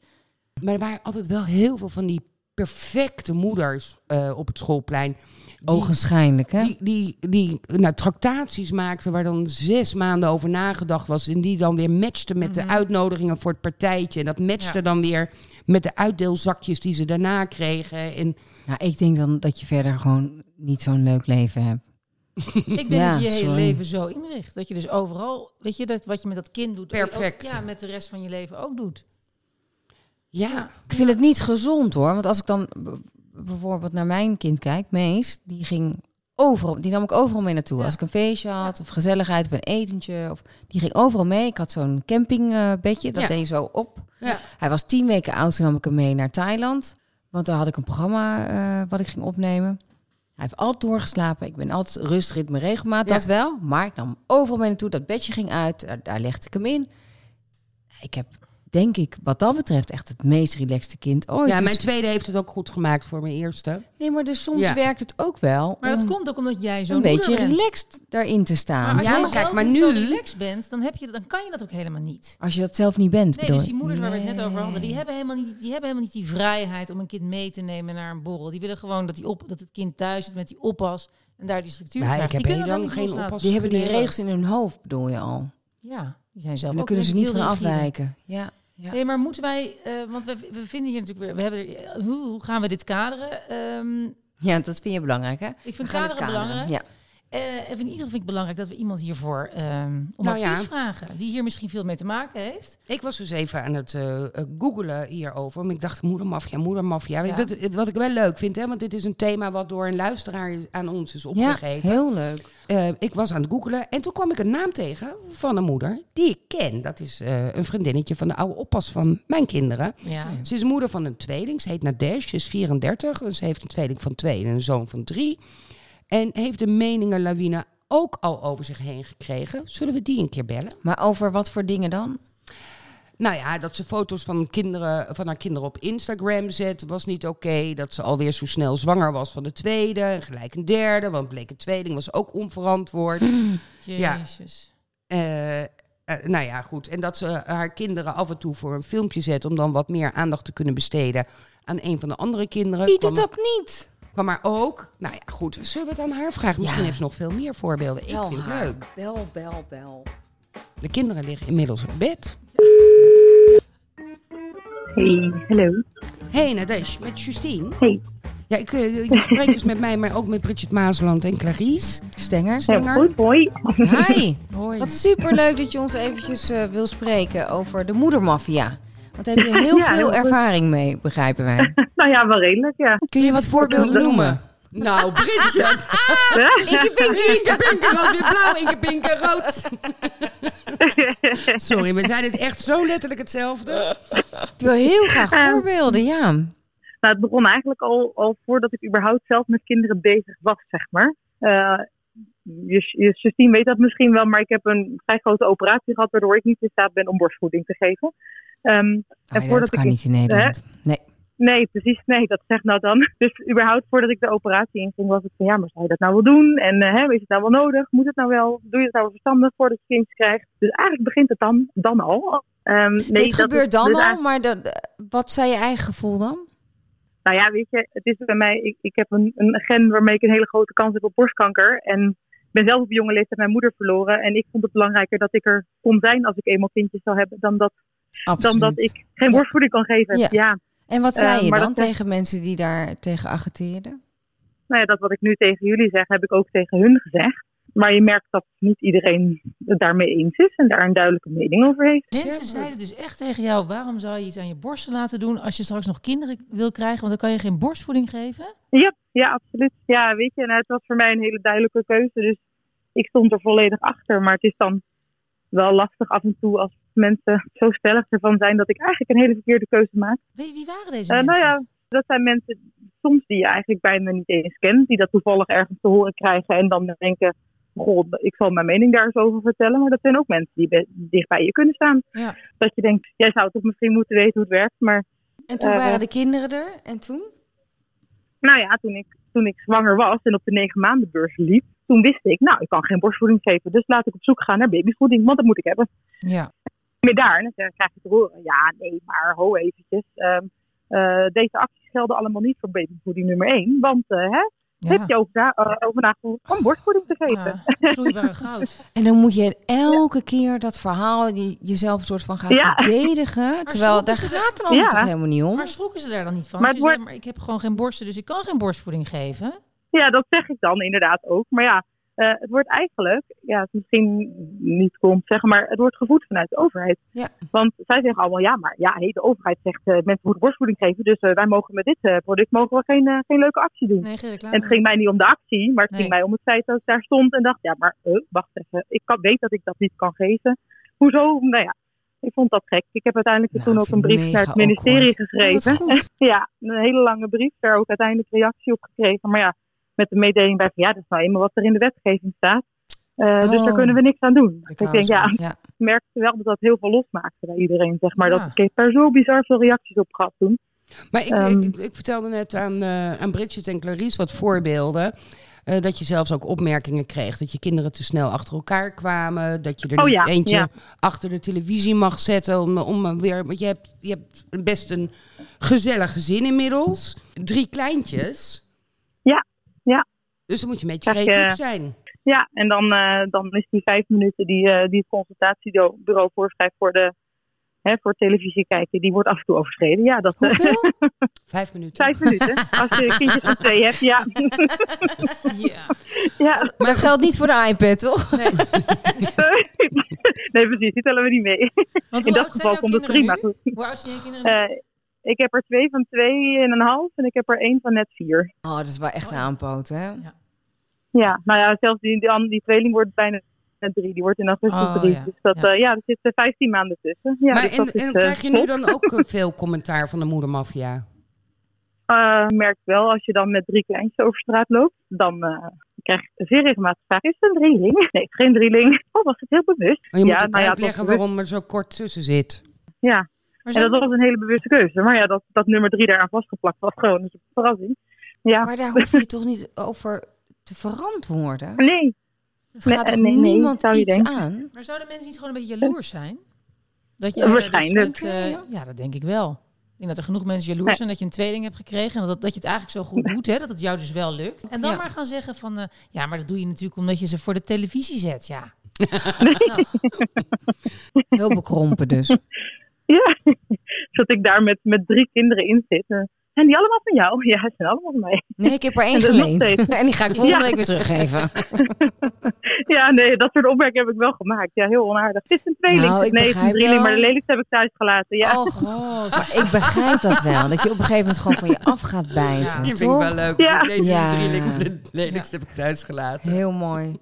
S4: Maar er waren altijd wel heel veel van die perfecte moeders eh, op het schoolplein. Die-
S5: Ogenschijnlijk, hè?
S4: die, die, die nou, tractaties maakten waar dan zes maanden over nagedacht was. En die dan weer matchten met de uitnodigingen voor het partijtje. En dat matchte
S3: Ja.
S4: dan weer met de uitdeelzakjes die ze daarna kregen. En
S5: Nou, ik denk dan dat je verder gewoon niet zo'n leuk leven hebt.
S3: Ik denk
S5: Ja,
S3: dat je je hele
S5: sorry.
S3: leven zo inricht. Dat je dus overal, weet je, dat wat je met dat kind doet. dat je ook,
S4: Perfect.
S3: ja, met de rest van je leven ook doet.
S4: ja,
S5: Ik vind het niet gezond hoor. Want als ik dan b- bijvoorbeeld naar mijn kind kijk, Mees, die ging overal, die nam ik overal mee naartoe.
S3: Ja.
S5: Als ik een feestje had, of gezelligheid, of een etentje, of, die ging overal mee. Ik had zo'n campingbedje, dat
S4: Ja.
S5: deed zo op.
S4: Ja.
S5: Hij was tien weken oud, toen nam ik hem mee naar Thailand. Want daar had ik een programma eh, wat ik ging opnemen. Hij heeft altijd doorgeslapen. Ik ben altijd rust, ritme, regelmaat,
S4: Ja.
S5: dat wel. Maar ik nam hem overal mee naartoe. Dat bedje ging uit, daar, daar legde ik hem in. Ik heb, denk ik, wat dat betreft echt het meest relaxte kind ooit.
S4: ja
S5: Dus-
S4: mijn tweede heeft het ook goed gemaakt voor mijn eerste.
S5: Nee, maar dus soms
S4: Ja.
S5: werkt het ook wel
S3: Maar dat
S5: om
S3: komt ook omdat jij zo'n
S5: een beetje
S3: moeder bent.
S5: relaxed daarin te staan.
S3: Maar als
S4: Ja,
S3: jij
S4: maar
S3: zelf
S4: kijk, maar
S3: niet
S4: nu-
S3: zo relaxed bent, dan, heb je, dan kan je dat ook helemaal niet.
S5: Als je dat zelf niet bent,
S3: Nee,
S5: bedoel
S3: dus die
S5: ik.
S3: moeders waar we het net over hadden, die
S5: Nee.
S3: hebben, helemaal niet, die hebben helemaal niet die vrijheid om een kind mee te nemen naar een borrel. Die willen gewoon dat, die op, dat het kind thuis zit met die oppas en daar die structuur
S4: Maar
S3: krijgt.
S4: ik heb
S3: die kunnen
S4: heel
S3: dat
S4: lang
S3: helemaal
S4: geen
S3: niet
S5: Die hebben die
S4: Leren.
S5: regels in hun hoofd, bedoel je al. En
S3: loslaten. Ja, die zijn zelf
S5: dan
S3: ook
S5: kunnen ze
S3: denk
S5: niet
S3: ik
S5: van
S3: heel rigide.
S5: afwijken. Ja. Ja.
S3: Nee, maar moeten wij, eh, want we, we vinden hier natuurlijk weer, we hebben, er- eh, hoe, hoe gaan we dit kaderen? Ehm,
S5: ja, dat vind je belangrijk, hè?
S3: ik
S5: We
S3: vind
S5: gaan het
S3: kaderen, belangrijk.
S5: Ja.
S3: Eh, en in ieder geval vind ik het belangrijk dat we iemand hiervoor ehm om
S4: Nou
S3: advies
S4: ja.
S3: vragen. Die hier misschien veel mee te maken heeft.
S4: Ik was dus even aan het eh eh, googelen hierover. Maar ik dacht, moedermafia, moedermafia.
S3: Ja.
S4: Dat, wat ik wel leuk vind, hè, want dit is een thema wat door een luisteraar aan ons is
S5: ja,
S4: opgegeven.
S5: heel leuk.
S4: Eh, ik was aan het googelen en toen kwam ik een naam tegen van een moeder die ik ken. Dat is eh, een vriendinnetje van de oude oppas van mijn kinderen.
S3: Ja.
S4: Ze is moeder van een tweeling. Ze heet Nadesh, ze is 34. en ze heeft een tweeling van twee en een zoon van drie. En heeft de meningenlawine ook al over zich heen gekregen. Zullen we die een keer bellen?
S5: Maar over wat voor dingen dan?
S4: Nou ja, dat ze foto's van, kinderen, van haar kinderen op Instagram zet, was niet oké. Dat ze alweer zo snel zwanger was van de tweede en gelijk een derde. Want bleek een tweeling, was ook onverantwoord. Ja.
S3: Jezus.
S4: Eh, eh, nou ja, goed. En dat ze haar kinderen af en toe voor een filmpje zet... om dan wat meer aandacht te kunnen besteden aan een van de andere kinderen.
S5: Wie doet
S4: Kwam-
S5: dat niet?
S4: Kwam maar ook... Nou ja, goed. Zullen we het aan haar vragen? Misschien
S5: Ja.
S4: heeft ze nog veel meer voorbeelden. Ik vind het leuk.
S5: Bel, bel, bel.
S4: De kinderen liggen inmiddels op bed.
S7: Hey, hallo.
S4: hey, Nadesh, met Justine.
S7: Hey.
S4: Ja, ik, eh, je spreekt dus met mij, maar ook met Bridget Maasland en Clarice.
S5: Stenger.
S7: Ja,
S4: Stenger.
S7: goed, hoi.
S5: Hi.
S3: Hoi.
S5: Wat superleuk dat je ons eventjes eh, wil spreken over de moedermafia. Want daar heb je heel
S7: *laughs* Ja, heel
S5: veel
S7: goed.
S5: ervaring mee, begrijpen wij.
S7: *laughs* nou ja, wel redelijk, ja.
S5: Kun
S7: *laughs*
S5: je wat voorbeelden noemen?
S4: Nou, *laughs* Bridget. Inkepinkie, inkepinkie, rood weer blauw, inkepinkie, rood. *laughs* Sorry, we zijn het echt zo letterlijk hetzelfde.
S5: Ik wil heel graag voorbeelden, ja.
S7: Nou, het begon eigenlijk al, al voordat ik überhaupt zelf met kinderen bezig was, zeg maar. Eh, Jus- Jus- Justine weet dat misschien wel, maar ik heb een vrij grote operatie gehad, waardoor ik niet in staat ben om borstvoeding te geven. Ehm,
S5: Oh, ja,
S7: voordat
S5: dat kan
S7: ik-
S5: niet in Nederland.
S7: Nee, precies. Nee, dat zeg nou dan. *laughs* Dus überhaupt voordat ik de operatie inging, was het van ja, maar zou je dat nou wel doen? En eh, hè, is het nou wel nodig? Moet het nou wel? Doe je het nou wel verstandig voordat je kindjes krijgt? Dus eigenlijk begint het dan, dan al. Ehm, nee,
S5: Dit
S7: dat
S5: gebeurt
S7: is-
S5: dan
S7: dus
S5: al,
S7: eigenlijk-
S5: maar dat, wat zei je eigen gevoel dan?
S7: Nou ja, weet je, het is bij mij, ik, ik heb een, een gen waarmee ik een hele grote kans heb op borstkanker. En ik ben zelf op jonge leeftijd mijn moeder verloren. En ik vond het belangrijker dat ik er kon zijn als ik eenmaal kindjes zou hebben, dan dat, dan
S5: Absoluut.
S7: dat ik geen
S5: Ja.
S7: borstvoeding kan geven.
S5: Ja.
S7: ja.
S5: En wat zei
S7: Eh,
S5: je
S7: maar
S5: dan
S7: dat-
S5: tegen mensen die daar tegen agiteerden?
S7: nou ja, dat wat ik nu tegen jullie zeg, heb ik ook tegen hun gezegd. Maar je merkt dat niet iedereen het daarmee eens is en daar een duidelijke mening over heeft.
S3: Mensen zeiden dus echt tegen jou, waarom zou je iets aan je borsten laten doen als je straks nog kinderen wil krijgen, want dan kan je geen borstvoeding geven?
S7: Ja, ja, absoluut. Ja, weet je, en het was voor mij een hele duidelijke keuze. Dus ik stond er volledig achter. Maar het is dan wel lastig af en toe als mensen zo stellig ervan zijn dat ik eigenlijk een hele verkeerde keuze maak.
S3: Wie, wie waren deze
S7: Eh,
S3: mensen?
S7: nou ja, dat zijn mensen soms die je eigenlijk bijna niet eens kent, die dat toevallig ergens te horen krijgen en dan denken, goh, ik zal mijn mening daar eens over vertellen. Maar dat zijn ook mensen die be- dicht bij je kunnen staan.
S3: Ja.
S7: Dat je denkt, jij zou toch misschien moeten weten hoe het werkt. Maar
S5: En toen
S7: Eh,
S5: waren de kinderen er. En toen?
S7: nou ja, toen ik, toen ik zwanger was en op de negen maandenbeurs liep, toen wist ik, nou, ik kan geen borstvoeding geven, dus laat ik op zoek gaan naar babyvoeding, want dat moet ik hebben.
S3: ja.
S7: meer daar. En dan krijg je te horen, ja, nee, maar ho eventjes. ehm, eh, deze acties gelden allemaal niet voor babyvoeding nummer 1. Want eh, hè, heb je ook daar eh, over nagedacht om borstvoeding te geven?
S3: Ja, vloeibare goud.
S7: *laughs*
S5: En dan moet je elke keer dat verhaal je, jezelf een soort van gaan
S7: Ja.
S5: verdedigen. Terwijl
S3: soms
S5: daar
S3: is het-
S5: gaat het allemaal
S7: Ja.
S5: toch helemaal niet om.
S3: Maar schrokken ze daar dan niet van?
S7: Maar
S3: Ze
S7: het wordt-
S3: zeggen, maar ik heb gewoon geen borsten, dus ik kan geen borstvoeding geven.
S7: Ja, dat zeg ik dan inderdaad ook. Maar ja, eh, het wordt eigenlijk, ja, het is misschien niet cool om te zeggen, maar het wordt gevoed vanuit de overheid.
S5: Ja.
S7: Want zij zeggen allemaal, ja, maar ja, hey, de overheid zegt eh, mensen moeten borstvoeding geven, dus eh, wij mogen met dit eh, product mogen we geen, eh, geen leuke actie doen.
S3: Nee, geen reclame.
S7: En het ging mij niet om de actie, maar het
S3: Nee.
S7: ging mij om het feit dat ik daar stond en dacht, ja, maar eh, wacht even, ik kan, weet dat ik dat niet kan geven. Hoezo? Nou ja, ik vond dat gek. Ik heb uiteindelijk
S5: Nou,
S7: toen
S5: ik
S7: ook een
S5: vind
S7: brief
S5: het
S7: naar het
S5: mega
S7: ministerie
S5: Oh, wat
S7: geschreven.
S5: goed.
S7: *laughs* Ja, een hele lange brief, daar ook uiteindelijk reactie op gekregen. Maar ja, met de mededeling bij van ja, dat is nou eenmaal wat er in de wetgeving staat. Eh, Dus daar
S5: Oh.
S7: kunnen we niks aan doen. Dus
S5: De
S7: ik denk, ja,
S5: kousen,
S7: ik merkte wel dat dat heel veel losmaakte bij iedereen, zeg maar.
S3: Ja.
S7: Dat ik heb daar zo bizar veel reacties op gehad toen.
S4: Maar ik,
S7: Ehm.
S4: ik, ik, ik vertelde net aan, eh, aan Bridget en Clarice wat voorbeelden. eh, dat je zelfs ook opmerkingen kreeg. Dat je kinderen te snel achter elkaar kwamen. Dat je er
S7: Oh
S4: niet
S7: ja,
S4: eentje
S7: ja.
S4: achter de televisie mag zetten. Om, om weer, want je hebt, je hebt best een gezellig gezin inmiddels. Drie kleintjes.
S7: Ja, ja.
S4: Dus dan moet je een beetje
S7: Krijg je-
S4: creatief zijn.
S7: Ja, en dan, eh, dan is die vijf minuten die, eh, die het consultatiebureau voorschrijft voor, de, hè, voor televisie kijken, die wordt af en toe overschreden. Ja, dat eh, *laughs*
S4: Hoeveel? Vijf minuten.
S7: vijf minuten. Als je kindjes van twee hebt,
S3: *laughs*
S7: ja. *laughs*
S3: Ja.
S7: ja.
S5: Maar dat geldt niet voor de iPad, toch?
S3: Nee.
S7: Nee, precies, die tellen we niet mee.
S3: Want hoe
S7: In
S3: oud
S7: dat
S3: zijn
S7: geval
S3: jouw
S7: komt het
S3: kinderen
S7: prima
S3: nu?
S7: goed.
S3: Hoe oud zijn je kinderen nu?
S7: Eh, ik heb er twee van twee en een half en ik heb er één van net vier.
S5: Oh, dat is wel echt
S3: Oh, ja.
S5: aanpoot, hè?
S7: Ja, nou ja, zelfs die, die, an- die tweeling wordt bijna net drie. Die wordt in augustus
S3: Oh,
S7: drie.
S3: ja.
S7: Dus dat,
S3: Ja.
S7: ja, ja er zitten vijftien maanden tussen. Ja,
S4: maar
S7: dus
S4: en,
S7: dat is,
S4: en
S7: eh,
S4: krijg je nu
S7: top.
S4: dan ook eh, veel commentaar van de
S7: *laughs*
S4: moedermafia?
S7: Eh, ik merk wel, als je dan met drie kleintjes over straat loopt, dan eh, krijg je zeer regelmatig vragen. Is het een drieling? Nee, het is geen drieling. Oh, was het heel bewust?
S4: Maar je moet
S7: ja,
S4: ook
S7: nou ja, het was
S4: uitleggen
S7: bewust.
S4: waarom er zo kort tussen zit.
S7: Ja,
S3: maar
S7: en
S3: zijn
S7: dat was een hele bewuste keuze. Maar ja, dat, dat nummer drie daaraan vastgeplakt was gewoon een verrassing. Ja,
S5: Maar daar hoef je toch niet over te verantwoorden?
S7: nee.
S5: Het
S7: Nee,
S5: gaat toch
S7: nee, nee,
S5: niemand
S7: zou je
S5: iets
S7: denken.
S5: aan?
S3: Maar zouden mensen niet gewoon een beetje jaloers zijn? Dat je
S7: Ja,
S3: eh,
S7: waarschijnlijk.
S3: dus vindt, eh,
S5: Ja,
S3: ja, dat denk ik wel. Ik denk dat er genoeg mensen jaloers
S7: Nee.
S3: zijn dat je een tweeling hebt gekregen. En dat, dat je het eigenlijk zo goed doet, hè, dat het jou dus wel lukt. En dan
S5: Ja.
S3: maar gaan zeggen van, eh, ja, maar dat doe je natuurlijk omdat je ze voor de televisie zet, ja. Dat.
S5: Heel bekrompen dus.
S7: *laughs* Ja, dat ik daar met, met drie kinderen in zit. Eh, Zijn die allemaal van jou? *laughs* Ja, ze zijn allemaal van mij.
S5: Nee, ik heb er één
S7: En *laughs* dat is nog
S5: geleend.
S7: steeds.
S5: *laughs* En die ga ik volgende
S7: Ja.
S5: week weer teruggeven.
S7: Ja, nee, dat soort opmerkingen heb ik wel gemaakt. Ja, heel onaardig. Het is een tweeling.
S5: Nou, ik
S7: nee, het is een
S5: begrijp
S7: drieling,
S5: wel.
S7: maar de lelijkste heb ik thuis gelaten. Ja.
S5: Oh, god. Maar ik begrijp dat wel. Dat je op een gegeven moment gewoon van je af gaat bijten.
S4: Die vind ik
S5: toch?
S4: wel leuk.
S7: Ja.
S4: Dus deze
S5: Ja.
S4: is drie de *laughs* lelijkste heb ik thuis gelaten.
S5: Heel mooi. *laughs*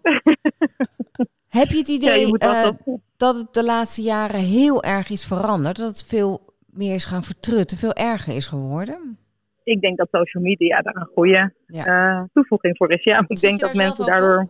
S5: Heb je het
S7: ja, je
S5: idee
S7: moet wel
S5: eh,
S7: toch-
S5: dat het de laatste jaren heel erg is veranderd? Dat het veel meer is gaan vertrutten, veel erger is geworden?
S7: Ik denk dat social media daar een goede
S5: Ja.
S7: eh, toevoeging voor is. Ja, ik
S3: Zit je
S7: denk dat
S3: daar
S7: mensen
S3: zelf ook
S7: daardoor...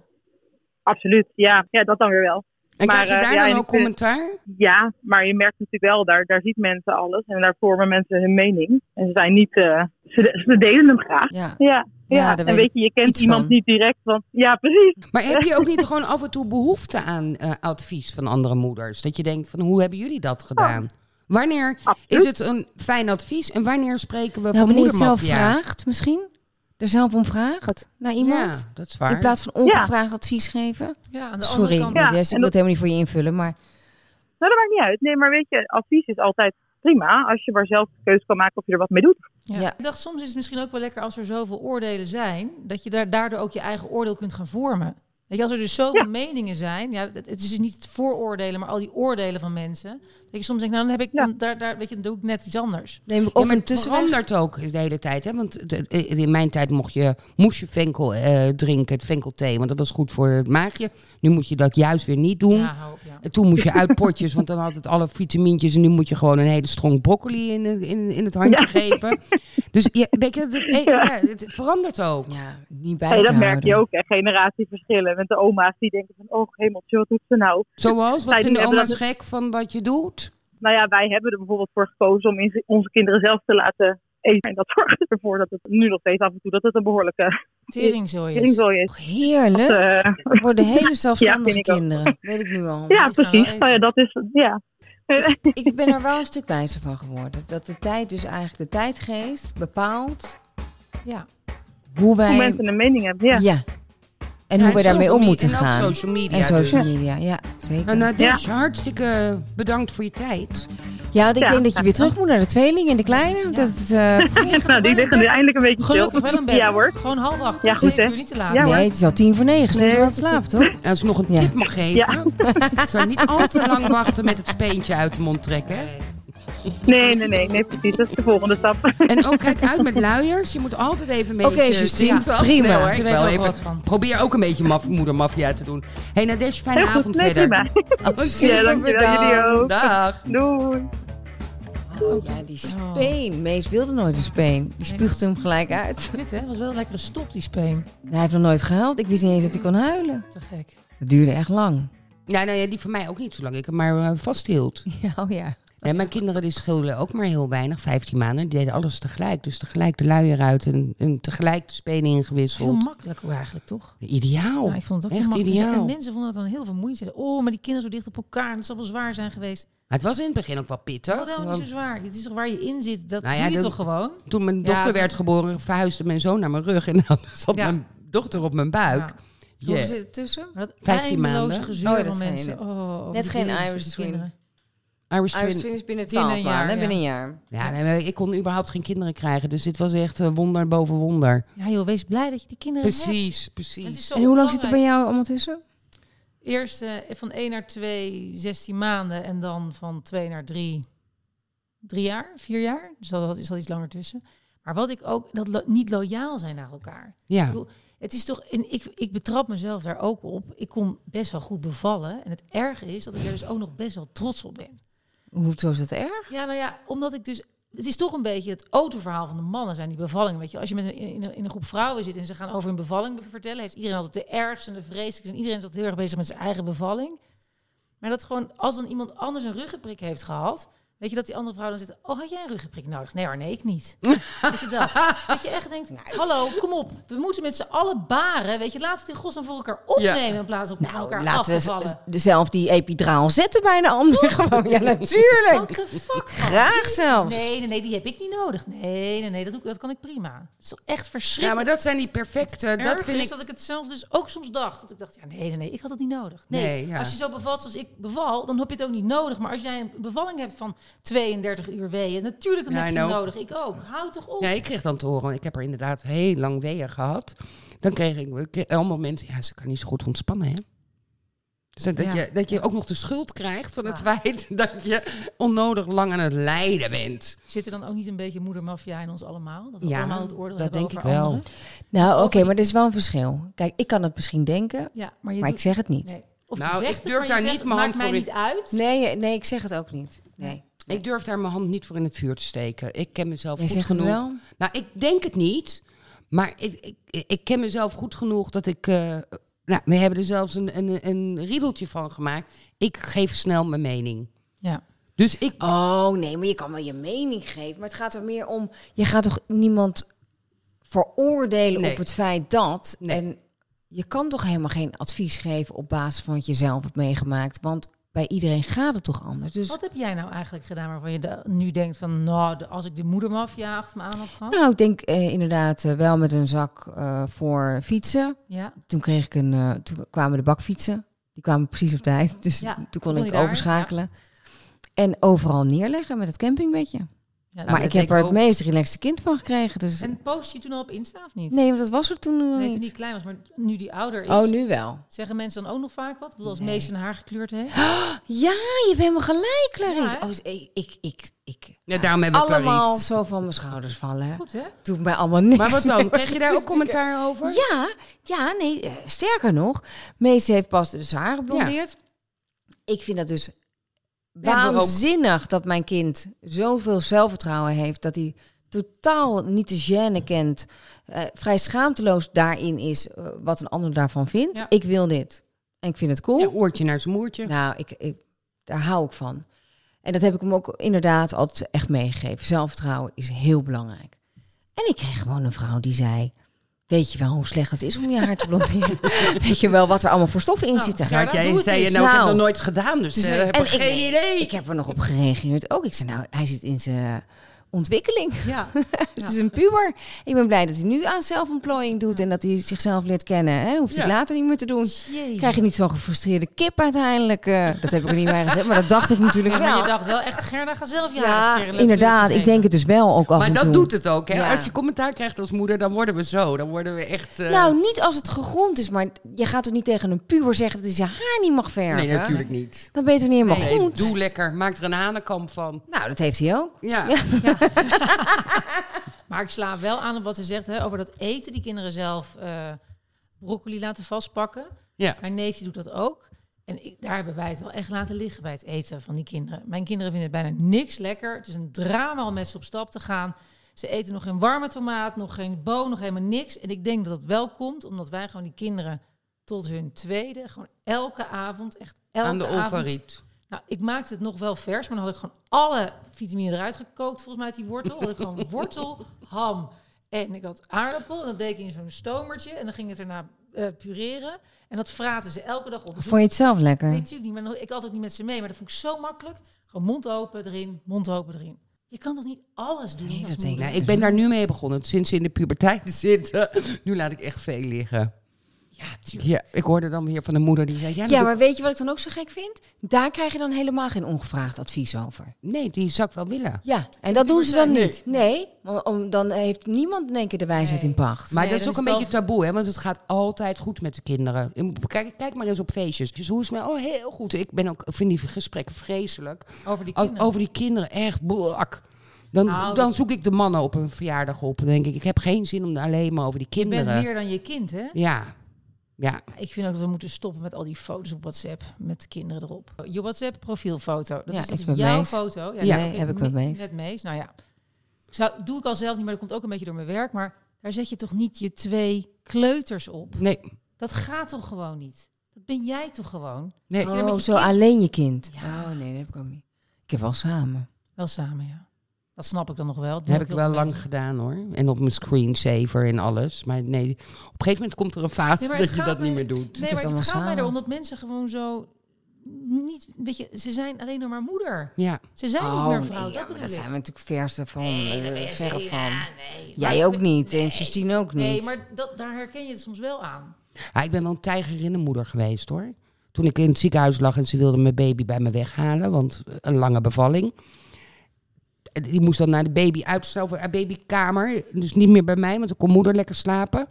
S7: Absoluut, ja. Ja, dat dan weer wel.
S4: En
S7: Maar,
S4: krijg je
S7: eh,
S4: daar
S7: ja,
S4: dan
S7: en ik
S4: ook
S7: vind-
S4: commentaar?
S7: Ja, maar je merkt natuurlijk wel, daar, daar ziet mensen alles. En daar vormen mensen hun mening. En ze zijn niet... eh, ze, ze delen hem graag.
S5: Ja.
S7: Ja,
S5: Ja,
S7: ja.
S5: daar weet
S7: en weet je, je kent
S5: iets
S7: iemand
S5: van.
S7: niet direct. Want, ja, precies.
S4: Maar heb je ook
S7: *laughs*
S4: niet gewoon af en toe behoefte aan eh, advies van andere moeders? Dat je denkt van hoe hebben jullie dat gedaan? Wanneer
S7: Oh. Absoluut.
S4: is het een fijn advies en wanneer spreken we
S5: Nou,
S4: van
S5: wanneer je het zelf
S4: moedermafia?
S5: vraagt misschien? Er zelf om vraagt naar iemand?
S4: Ja, dat is waar.
S5: In plaats van ongevraagd advies geven?
S3: Ja, aan de
S5: Sorry,
S3: andere kant.
S7: Ja,
S5: Jess, ik
S7: en
S5: wil het
S7: dat-
S5: helemaal niet voor je invullen, maar...
S7: Nou, dat maakt niet uit. Nee, maar weet je, advies is altijd prima. Als je maar zelf de keuze kan maken of je er wat mee doet.
S3: Ja.
S5: Ja.
S3: Ik dacht, soms is het misschien ook wel lekker als er zoveel oordelen zijn, dat je daar, daardoor ook je eigen oordeel kunt gaan vormen. Weet je, als er dus zoveel meningen zijn, ja, het, het is dus niet het vooroordelen, maar al die oordelen van mensen. Dat je soms denkt, nou dan heb ik,
S7: Ja.
S3: dan, daar, daar, weet je, dan doe ik net iets anders.
S5: Neem ik
S4: Ja,
S5: of
S4: maar
S5: een
S4: het
S5: tussenweg.
S4: verandert ook de hele tijd. Hè? Want de- eh, in mijn tijd mocht je, moest je venkel eh, drinken, het venkelthee. Want dat was goed voor het maagje. Nu moet je dat juist weer niet doen.
S3: Ja, hou op, ja.
S4: En toen moest je uit potjes, want dan had het alle vitamintjes. En nu moet je gewoon een hele stronk broccoli in, eh, in, in het handje
S7: Ja.
S4: geven. Dus ja, weet je, het, het- ja, het verandert ook.
S5: Ja, niet bij te
S7: Hey, dat merk je
S5: houden.
S7: ook, hè. Generatieverschillen. Met de oma's die denken van, oh hemeltje, wat doet ze nou?
S4: Zoals, wat
S7: Zij
S4: vinden
S7: hebben
S4: oma's
S7: dat-
S4: gek van wat je doet?
S7: Nou ja, wij hebben er bijvoorbeeld voor gekozen om in- onze kinderen zelf te laten eten. En dat *laughs* zorgt ervoor dat het nu nog steeds af en toe dat het een behoorlijke
S3: Teringzooi is.
S7: ringzooi is.
S5: Och, Heerlijk.
S7: *laughs* Eh,
S5: Worden hele zelfstandige
S7: ik
S5: *laughs*
S7: ook.
S5: kinderen. Weet ik nu al.
S7: ja,
S3: die gaan wel
S7: precies.
S3: eten.
S7: Nou ja, dat is, ja.
S5: Ik ben er wel een stuk wijzer van geworden. Dat de tijd dus eigenlijk de tijdgeest bepaalt
S3: Ja.
S5: hoe wij...
S7: Hoe mensen een mening hebben. Ja. Nou,
S5: Ja. En hoe wij daarmee om moeten gaan.
S4: En ook social media.
S5: en social
S4: dus.
S5: media, ja, zeker.
S4: Nou, Nadege, hartstikke bedankt voor je tijd.
S5: ja, want ik
S7: Ja.
S5: denk dat je weer terug moet naar de tweeling en de kleine. want Dat, is, eh,
S7: Nou, die liggen nu eindelijk een beetje
S3: Gelukkig
S7: stil.
S3: wel een bed.
S7: Ja hoor.
S3: Gewoon half acht.
S7: Ja,
S3: of
S7: goed,
S3: zeven
S7: hè?
S3: uur niet te laat.
S7: Ja,
S5: *laughs*
S7: hoor.
S5: nee, het is al tien voor negen. Ze
S7: Nee,
S5: liggen wel te slapen, toch?
S4: En als ik nog een
S5: Ja.
S4: tip mag geven.
S7: Ja.
S4: Ik zou niet al te lang wachten met het speentje uit de mond trekken. hè.
S7: Nee, nee, nee, nee, precies. Dat is de volgende stap. *laughs*
S4: En ook kijk uit met luiers. Je moet altijd even een beetje...
S5: Oké, Justine,
S4: zien, toch?
S5: prima.
S4: Nee, hoor,
S3: Ze
S4: ik
S3: weet
S4: wel
S3: er ook
S4: even-
S3: wat van.
S4: Probeer ook een beetje maf, moedermafia te doen. hey, Nadesh, fijne
S7: Heel goed.
S4: avond
S7: Nee,
S4: verder.
S7: prima.
S4: Oh,
S7: Ja,
S4: super
S7: dankjewel. Jullie
S4: bedankt.
S7: ook.
S4: Dag.
S7: Doei.
S5: Oh ja, die speen. Mees wilde nooit een speen. Die spuugde hem gelijk uit.
S3: Kut, hè? Was wel een lekkere stop, die speen.
S5: Nou, hij heeft nog nooit gehuild. Ik wist niet eens dat hij kon huilen.
S3: Te gek.
S5: Het duurde echt lang.
S4: Ja, nou ja, die van mij ook niet zo lang. Ik heb maar eh, vasthield.
S5: *laughs* Ja, oh ja.
S4: Nee, mijn kinderen die schilden ook maar heel weinig, 15 maanden. Die deden alles tegelijk. Dus tegelijk de luier uit en, en tegelijk de spenen
S3: Heel
S4: ingewisseld.
S3: makkelijk ook eigenlijk, toch?
S4: Ideaal.
S3: Ja, ik vond het ook
S4: echt
S3: heel makkelijk. Dus-
S4: ideaal.
S3: En mensen vonden dat dan heel vermoeiend. Zeiden, oh, maar die kinderen zo dicht op elkaar. Dat zal wel zwaar zijn geweest.
S4: Maar het was in het begin ook wel pittig.
S3: Dat is helemaal niet zo zwaar. Het is toch waar je in zit. Dat
S4: Nou ja,
S3: doe je
S4: dat-
S3: toch gewoon?
S4: Toen mijn
S3: Ja,
S4: dochter
S3: dat-
S4: werd geboren, verhuisde mijn zoon naar mijn rug. En dan *laughs* zat
S3: Ja.
S4: mijn dochter op mijn buik.
S3: Ja.
S4: Ja.
S5: Hoe zit het tussen?
S3: Maar dat
S4: 15
S3: eindeloze
S4: maanden.
S3: gezeur
S5: Oh, dat
S3: van
S5: zei je
S3: mensen.
S5: net.
S3: Oh, over
S5: Net
S3: die
S5: geen
S3: baby's en
S5: Irish
S3: die
S5: twin.
S3: kinderen.
S4: Irish
S5: Hij
S4: twin.
S5: is binnen
S3: Binnen
S5: 12
S3: een jaar,
S5: maanden,
S3: ja.
S5: binnen een jaar.
S4: Ja, nee, maar ik kon überhaupt geen kinderen krijgen. Dus dit was echt eh, wonder boven wonder.
S3: Ja joh, wees blij dat je die kinderen hebt.
S4: Precies,
S3: En het
S4: precies.
S3: is zo
S5: En hoe lang zit er bij
S3: belangrijk.
S5: jou allemaal tussen?
S3: Eerst eh, van 1 naar 2, 16 maanden. En dan van 2 naar 3, 3 jaar, 4 jaar. Dus dat is al iets langer tussen. Maar wat ik ook, dat lo- niet loyaal zijn naar elkaar.
S4: Ja.
S3: bedoel, Het is toch, en ik, ik betrap mezelf daar ook op. Ik kon best wel goed bevallen. En het erge is dat ik er dus ook nog best wel trots op ben.
S5: Hoezo is dat erg?
S3: Ja, nou ja, omdat ik dus. Het is toch een beetje het autoverhaal van de mannen zijn die bevallingen. Weet je, als je met een, in, een, in een groep vrouwen zit en ze gaan over hun bevalling vertellen, heeft iedereen altijd de ergste en de vreselijkste. En iedereen is altijd heel erg bezig met zijn eigen bevalling. Maar dat gewoon, als dan iemand anders een ruggenprik heeft gehad, weet je dat die andere vrouw dan zit, oh had jij een ruggenprik nodig? Nee hoor, nee ik niet. weet je dat? Dat je echt denkt, hallo, kom op, we moeten met z'n allen baren. Weet je, laten we het in godsnaam voor elkaar opnemen in plaats van op
S5: Nou,
S3: elkaar af te vallen.
S5: z- zelf die epidraal zetten bij een ander. Gewoon, *laughs* ja, natuurlijk.
S3: Wat de fuck? man?
S5: Graag
S3: Jezus,
S5: zelfs.
S3: Nee, nee, nee, die heb ik niet nodig. Nee, nee, nee, dat, doe, ik- dat kan ik prima. Het is toch echt
S4: Ja, maar
S3: verschrikkelijk.
S4: dat zijn die perfecte.
S3: Erg
S4: Dat vind
S3: is
S4: ik.
S3: dat ik het zelf dus ook soms dacht. Dat ik dacht, ja, nee, nee, nee, ik had het niet nodig. Nee,
S4: Nee, ja.
S3: als je zo bevalt zoals ik beval, dan heb je het ook niet nodig. Maar als jij een bevalling hebt van 32 uur weeën, natuurlijk dan
S4: Ja,
S3: heb
S4: I
S3: je het
S4: know.
S3: nodig. Ik ook. Hou toch op.
S4: Ja, ik kreeg dan te horen. Ik heb er inderdaad heel lang weeën gehad. Dan kreeg ik- ik kreeg allemaal mensen. Ja, ze kan niet zo goed ontspannen, hè? Dus dat, dat
S3: Ja.
S4: je, dat je ook nog de schuld krijgt van het
S3: Ja.
S4: feit *laughs* dat je onnodig lang aan het lijden bent.
S3: Zit er dan ook niet een beetje moedermafia in ons allemaal? Dat we
S4: Ja,
S3: allemaal het oordeel
S4: dat
S3: hebben
S4: denk
S3: over
S4: ik wel.
S3: anderen?
S5: Nou, oké, maar er is wel een verschil. Kijk, ik kan het misschien denken,
S3: Ja, maar je
S5: maar ik
S3: doet-
S5: zeg het niet.
S3: nee. Of
S4: Nou,
S3: je zegt
S4: ik
S3: het,
S4: durf
S3: maar je
S4: daar
S3: zegt,
S4: niet
S3: het
S4: mijn
S3: maakt
S4: hand
S3: mij
S4: voor
S3: niet uit.
S5: Nee, nee, ik zeg het ook niet. Nee.
S4: Ik durf daar mijn hand niet voor in het vuur te steken. Ik ken mezelf
S5: Jij
S4: goed
S5: zegt het
S4: genoeg.
S5: wel?
S4: Nou, ik denk het niet. Maar ik, ik, ik ken mezelf goed genoeg dat ik. eh, nou, we hebben er zelfs een, een, een riedeltje van gemaakt. Ik geef snel mijn mening.
S3: Ja.
S4: Dus ik.
S5: Oh, nee, maar je kan wel je mening geven. Maar het gaat er meer om, je gaat toch niemand veroordelen
S4: Nee.
S5: op het feit dat.
S4: Nee.
S5: En je kan toch helemaal geen advies geven op basis van wat je zelf hebt meegemaakt. Want bij iedereen gaat het toch anders. Dus
S3: Wat heb jij nou eigenlijk gedaan waarvan je da- nu denkt van, nou, de- als ik de moedermafia achter me aan had
S5: *laughs*
S3: gehad?
S5: Nou, ik denk eh, inderdaad eh, wel met een zak eh, voor fietsen.
S3: Ja.
S5: Toen kreeg ik een, eh, toen kwamen de bakfietsen. Die kwamen precies op tijd. Dus
S3: Ja,
S5: toen kon
S3: kon
S5: ik
S3: je daar,
S5: overschakelen. En overal neerleggen met het campingbedje.
S3: ja
S5: maar
S4: dat
S5: ik heb
S4: denk
S5: er
S4: ik
S5: het
S4: ook.
S5: meest relaxte kind van gekregen. Dus
S3: En post je toen al op Insta of niet?
S5: nee, want dat was er toen nog
S3: Nee, toen
S5: niet.
S3: die klein was, maar nu die ouder is,
S5: Oh, nu wel.
S3: zeggen mensen dan ook nog vaak wat? Ik bedoel, als Mees zijn haar gekleurd heeft.
S5: Ja, je hebt helemaal gelijk, Clarisse.
S3: Ja, hè?
S5: oh, ik, ik, ik, ik.
S4: Ja, daarom hebben we
S5: allemaal
S4: Clarice.
S5: zo van mijn schouders vallen.
S3: Goed, hè?
S5: Doet mij allemaal niks.
S4: Maar wat dan?
S5: meer.
S4: Kreeg je daar ook commentaar over?
S5: *laughs* Dus Ja, ja, nee, eh, sterker nog, Mees heeft pas dus haar geblondeerd. Ik vind dat dus
S4: maar ook-
S5: waanzinnig dat mijn kind zoveel zelfvertrouwen heeft dat hij totaal niet de gêne kent, eh, vrij schaamteloos daarin is eh, wat een ander daarvan vindt.
S3: Ja.
S5: Ik wil dit en ik vind het cool.
S4: Ja, oortje naar zijn moertje.
S5: Nou, ik, ik, daar hou ik van. En dat heb ik hem ook inderdaad altijd echt meegegeven. Zelfvertrouwen is heel belangrijk. En ik kreeg gewoon een vrouw die zei... Weet je wel hoe slecht het is om je haar te
S4: *laughs*
S5: blonderen? Weet je wel wat er allemaal voor stoffen in zitten?
S4: Nou, Gerard, jij zei je nou, ik heb het nog nooit gedaan, dus eh, heb
S5: en
S4: ik geen
S5: ik,
S4: idee.
S5: Ik heb er nog op gereageerd ook. Ik zei, nou, hij zit in zijn ontwikkeling. *laughs*
S3: Ja.
S5: Het is een puber. Ik ben blij dat hij nu aan zelfontplooiing doet en dat hij zichzelf leert kennen. Hè? Hoeft hij het later niet meer te doen.
S3: Jee.
S5: Krijg je niet zo'n gefrustreerde kip uiteindelijk? eh, dat heb ik er niet bij gezet, maar dat dacht ik natuurlijk
S3: Ja, maar je
S5: wel.
S3: dacht wel echt, Gerda, ga zelf je haar eens een
S5: Ja,
S3: keer leuk
S5: inderdaad.
S3: leren
S5: Ik denk het dus wel ook af
S4: Maar
S5: en
S4: dat
S5: toe.
S4: doet het ook, hè?
S5: Ja.
S4: Als je commentaar krijgt als moeder, dan worden we zo. Dan worden we echt... eh,
S5: Nou, niet als het gegrond is, maar je gaat toch niet tegen een puber zeggen dat hij zijn haar niet mag verven?
S4: nee, natuurlijk niet.
S5: Dan ben je toch niet helemaal
S4: Nee,
S5: goed?
S4: doe lekker. Maak er een hanenkamp van.
S5: Nou, dat heeft hij ook.
S4: Ja.
S3: Maar ik sla wel aan op wat ze zegt hè, over dat eten. Die kinderen zelf eh, broccoli laten vastpakken.
S4: Ja.
S3: Mijn neefje doet dat ook. En ik- daar hebben wij het wel echt laten liggen bij het eten van die kinderen. Mijn kinderen vinden het bijna niks lekker. Het is een drama om met ze op stap te gaan. Ze eten nog geen warme tomaat, nog geen boon, nog helemaal niks. En ik denk dat dat wel komt omdat wij gewoon die kinderen tot hun tweede, gewoon elke avond, echt elke
S4: Aan de
S3: avond
S4: ovariet.
S3: nou, ik maakte het nog wel vers, maar dan had ik gewoon alle vitamine eruit gekookt, volgens mij uit die wortel. Had ik
S5: *laughs*
S3: gewoon wortel, ham en ik had aardappel. En dat deed ik in zo'n stomertje en dan ging het erna eh, pureren. En dat vraten ze elke dag op. Dat
S5: Vond je het zelf lekker?
S3: weet natuurlijk niet, maar ik had ook niet met ze mee. Maar dat vond ik zo makkelijk. Gewoon mond open erin, mond open erin. Je kan toch niet alles doen? als
S5: dat denk
S3: moeder?
S4: Nou, ik ben daar nu mee begonnen. Sinds ze in de puberteit *laughs* zitten. Nu laat ik echt veel liggen.
S3: Ja, tuurlijk.
S4: Ja, ik hoorde dan weer van de moeder die zei... Ja,
S5: Ja,
S4: dat-
S5: maar weet je wat ik dan ook zo gek vind? Daar krijg je dan helemaal geen ongevraagd advies over.
S4: Nee, die zou ik wel willen.
S5: Ja, en dat doen ze dan niet. Nee, want om, dan heeft niemand in één keer de wijsheid in pacht.
S4: Maar
S3: Nee,
S4: dat is
S3: dan
S4: ook een
S3: is het
S4: beetje taboe, hè? Want het gaat altijd goed met de kinderen. Kijk, kijk maar eens op feestjes. Dus hoe is het? nou? Oh, heel goed. Ik ben ook, ik vind die gesprekken vreselijk.
S3: Over die
S4: Als-
S3: kinderen.
S4: over die kinderen, echt blak. Dan,
S3: Nou,
S4: dan
S3: dat-
S4: zoek ik de mannen op een verjaardag op. Dan denk ik, ik heb geen zin om alleen maar over die
S3: Je bent
S4: kinderen.
S3: meer dan je kind, hè?
S4: Ja. Ja.
S3: Ik vind ook dat we moeten stoppen met al die foto's op WhatsApp met kinderen erop. Je WhatsApp profielfoto, dat is
S5: Ja, is
S3: natuurlijk
S5: met
S3: jouw
S5: Mees.
S3: foto.
S5: Ja,
S3: die
S5: heb ik met
S3: me-
S5: Mees.
S3: Met Mees, nou ja. Ik Zou, doe ik al zelf niet, maar dat komt ook een beetje door mijn werk. Maar daar zet je toch niet je twee kleuters op?
S4: Nee.
S3: Dat gaat toch gewoon niet? Dat ben jij toch gewoon?
S4: Nee.
S3: je dan met
S5: oh,
S3: je
S5: zo
S3: kind-
S5: alleen je kind.
S3: Ja.
S5: Oh nee, dat heb ik ook niet. Ik heb wel samen.
S3: Wel samen, ja. Dat snap ik dan nog wel.
S4: Dat heb ik wel lang gedaan hoor. En op mijn screensaver en alles. Maar nee, op een gegeven moment komt er een fase
S5: *laughs*
S3: Nee, maar het
S4: dat je
S3: gaat
S4: dat niet
S3: mij-
S4: meer doet.
S3: Nee,
S5: heb
S3: maar
S5: het
S3: het
S5: allemaal
S3: gaat mij
S5: samen.
S3: erom dat mensen gewoon zo niet... Weet je, ze zijn alleen nog maar moeder.
S4: Ja.
S3: Ze zijn
S5: oh
S3: niet meer vrouw.
S5: nee, ja,
S3: dat
S5: maar
S3: bedoel
S5: dat
S3: ik.
S5: zijn we natuurlijk verse van. eh, verre van.
S3: Nee,
S5: Jij
S3: maar-
S5: ook niet en Justine ook niet.
S3: Nee, maar dat, daar herken je het soms wel aan.
S4: Ja, ik ben wel een tijgerinnenmoeder geweest hoor. Toen ik in het ziekenhuis lag en ze wilde mijn baby bij me weghalen, want een lange bevalling. Die moest dan naar de baby uitstel, haar babykamer. Dus niet meer bij mij, want dan kon moeder lekker slapen.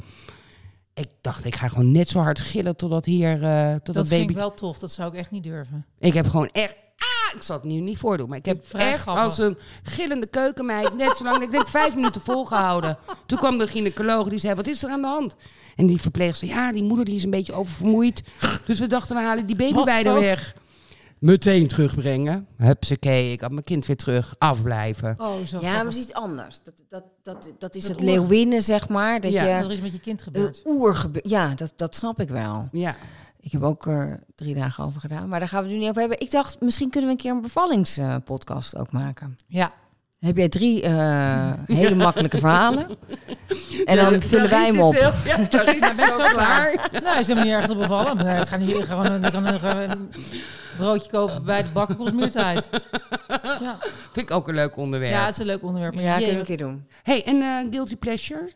S4: Ik dacht, ik ga gewoon net zo hard gillen totdat hier, eh tot
S3: Dat,
S4: dat
S3: vind
S4: baby...
S3: ik wel tof. Dat zou ik echt niet durven.
S4: Ik heb gewoon echt... Ah, ik zal het nu niet voordoen, maar ik heb
S3: Vrij
S4: echt
S3: grappig.
S4: als een gillende keukenmeid net zo lang, ik denk vijf minuten volgehouden. Toen kwam de gynaecoloog, die zei, wat is er aan de hand? En die verpleegster, ja, die moeder die is een beetje oververmoeid. Dus we dachten, we halen die baby
S3: Was
S4: bij de
S3: zo.
S4: weg. Meteen terugbrengen. Hupsakee, ik had mijn kind weer terug. Afblijven.
S3: Oh, zo
S5: ja, maar het is iets anders. Dat, dat, dat, dat is
S3: Dat
S5: het
S3: oer-
S5: leeuwinnen, zeg maar. Dat
S4: Ja.
S3: er
S5: je
S3: is met je kind
S5: eh,
S3: gebeurd.
S5: oergebe- Ja, dat, dat snap ik wel.
S4: Ja.
S5: Ik heb ook er drie dagen over gedaan, maar daar gaan we het nu niet over hebben. Ik dacht, misschien kunnen we een keer een bevallingspodcast ook maken.
S3: Ja.
S5: Dan heb jij drie eh, *laughs* hele makkelijke verhalen. En dan vullen wij hem op.
S4: Ja, daar is *laughs*
S3: Ik ben zo klaar. *laughs* Nou, is helemaal niet erg te bevallen. Nee, ik ga hier gewoon een, ik kan een, een broodje kopen bij de bakker komt
S5: *laughs*
S3: muurtijd. Ja.
S4: Vind ik ook een leuk onderwerp.
S3: ja, het is een leuk onderwerp. Maar
S5: Ja,
S3: jee,
S5: kunnen we een keer doen.
S4: hey, en eh, guilty pleasure?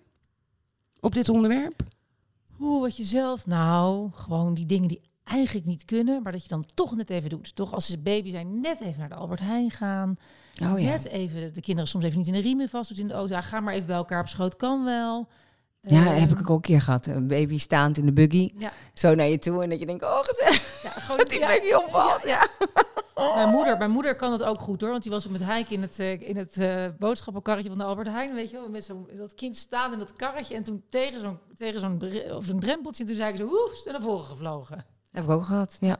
S4: Op dit onderwerp?
S3: Hoe wat je zelf? Nou, gewoon die dingen die eigenlijk niet kunnen, maar dat je dan toch net even doet. Toch als ze baby zijn, net even naar de Albert Heijn gaan.
S5: Oh ja.
S3: Net even de kinderen soms even niet in de riemen vast doet in de auto. Ja, ga maar even bij elkaar op schoot, kan wel.
S5: Ja,
S3: Ehm,
S5: heb ik ook al een keer gehad. Een baby staand in de buggy,
S3: Ja.
S5: zo naar je toe. En dat je denkt, oh, gezellig,
S3: Ja, gewoon,
S5: dat die Oh.
S3: ja.
S5: buggy opvalt. Ja.
S3: Mijn, moeder, mijn moeder kan dat ook goed hoor. Want die was met Heik in het, eh, in het eh, boodschappenkarretje van de Albert Heijn. Weet je wel, met zo'n dat kind staan in dat karretje. En toen tegen zo'n tegen zo'n bre- of zo'n drempeltje. Toen zei ik zo, oeh, is er naar voren gevlogen.
S5: Heb ik ook gehad, ja.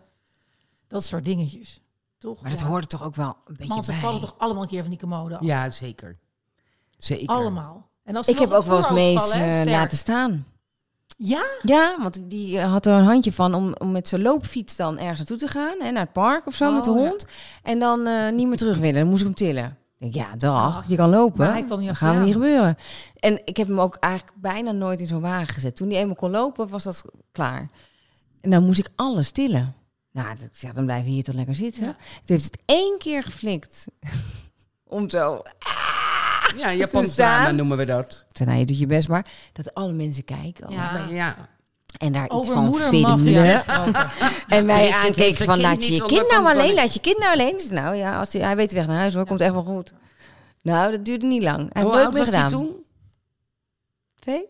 S3: Dat soort dingetjes. Toch?
S5: Maar dat
S3: Ja.
S5: hoort er toch ook wel een beetje
S3: Man, ze
S5: bij.
S3: vallen toch allemaal een keer van die commode af?
S4: Ja, zeker. Zeker.
S3: Allemaal. En als ze
S5: Ik heb
S3: op het
S5: ook wel eens
S3: voorhoofd
S5: mees
S3: vallen, hè,
S5: eh,
S3: sterk.
S5: laten staan.
S3: Ja?
S5: Ja, want die eh, had er een handje van om, om met zijn loopfiets dan ergens naartoe te gaan. Hè, naar het park of zo
S3: Oh,
S5: met de
S3: ja.
S5: hond. En dan eh, niet meer terug willen. Dan moest ik hem tillen. Ik denk, Ja, dag, je kan lopen.
S3: Oh, Maar hij kwam niet
S5: dat gaan
S3: achteraan.
S5: we niet gebeuren. En ik heb hem ook eigenlijk bijna nooit in zo'n wagen gezet. Toen hij eenmaal kon lopen, was dat klaar. En dan moest ik alles tillen. Nou, dat- ja, dan blijven we hier toch lekker zitten.
S3: Ja.
S5: Het heeft het één keer geflikt. *laughs* Om zo
S4: Ja,
S5: Te
S4: Japans
S5: staan.
S4: drama noemen we dat.
S5: Toen, nou, je doet je best, maar dat alle mensen kijken. al.
S3: Ja.
S4: Ja.
S5: En daar iets
S3: Over
S5: van
S3: moedermafia
S5: vinden.
S3: gesproken.
S5: *laughs*
S4: Weet
S5: En wij
S4: je, het heeft
S5: aankeken
S4: een
S5: van,
S4: kind
S5: laat
S4: niet
S5: je je
S4: zonder
S5: kind nou
S4: controle.
S5: alleen, laat je kind nou alleen. Dus nou ja, als hij, hij weet de weg naar huis hoor, komt echt wel goed. Nou, dat duurde niet lang. Hij
S4: Hoe
S5: heeft nooit
S4: oud
S5: meer
S4: was hij
S5: gedaan.
S4: toen?
S5: Twee?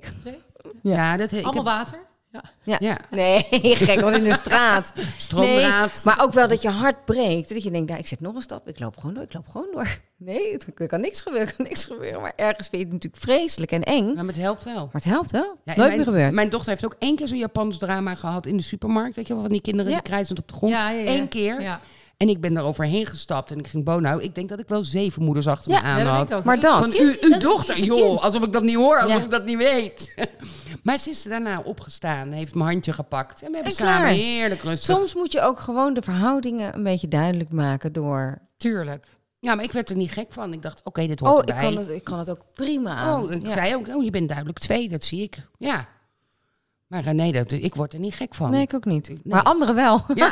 S4: Ja, dat he, ik
S3: Allemaal
S4: heb,
S3: water.
S4: ja.
S5: Nee, *laughs* gek, was in de straat. Nee,
S4: Stroomdraad.
S5: maar ook wel dat je hart breekt. Dat je denkt, nou, ik zet nog een stap, ik loop gewoon door, ik loop gewoon door. Nee, er kan niks gebeuren, er kan niks gebeuren. Maar ergens vind je het natuurlijk vreselijk en eng.
S4: Maar het helpt wel.
S5: Maar het helpt wel.
S4: Ja, en
S5: Nooit
S4: mijn,
S5: meer gebeurd.
S4: Mijn dochter heeft ook één keer zo'n Japans drama gehad in de supermarkt. Weet je wel, van die kinderen
S5: Ja.
S4: die krijzend op de grond.
S3: Ja, ja, ja.
S4: Eén keer.
S3: Ja.
S4: En ik ben daar overheen gestapt en ik ging bonen houden. Ik denk dat ik wel zeven moeders achter
S5: Ja,
S4: me aan
S3: Ja, dat
S4: had.
S3: denk ik ook.
S5: Maar dat.
S4: Van u, uw
S3: dat is-
S4: dochter,
S3: is een
S4: joh.
S3: kind.
S4: Alsof ik dat niet hoor, alsof
S5: Ja.
S4: ik dat niet weet. *laughs* maar ze is daarna opgestaan, heeft mijn handje gepakt. En we hebben
S5: En
S4: samen
S5: klaar.
S4: heerlijk rustig.
S5: Soms moet je ook gewoon de verhoudingen een beetje duidelijk maken door...
S3: Tuurlijk.
S4: Ja, maar ik werd er niet gek van. Ik dacht, oké, dit hoort
S5: Oh, ik
S4: erbij.
S5: kan, het, ik kan het ook prima aan.
S4: Oh, ik
S5: Ja.
S4: zei ook, oh, je bent duidelijk twee, dat zie ik. Ja. Maar eh, nee, dat, ik word er niet gek van.
S5: Nee, ik ook niet. Maar anderen wel. *laughs*
S4: Ja.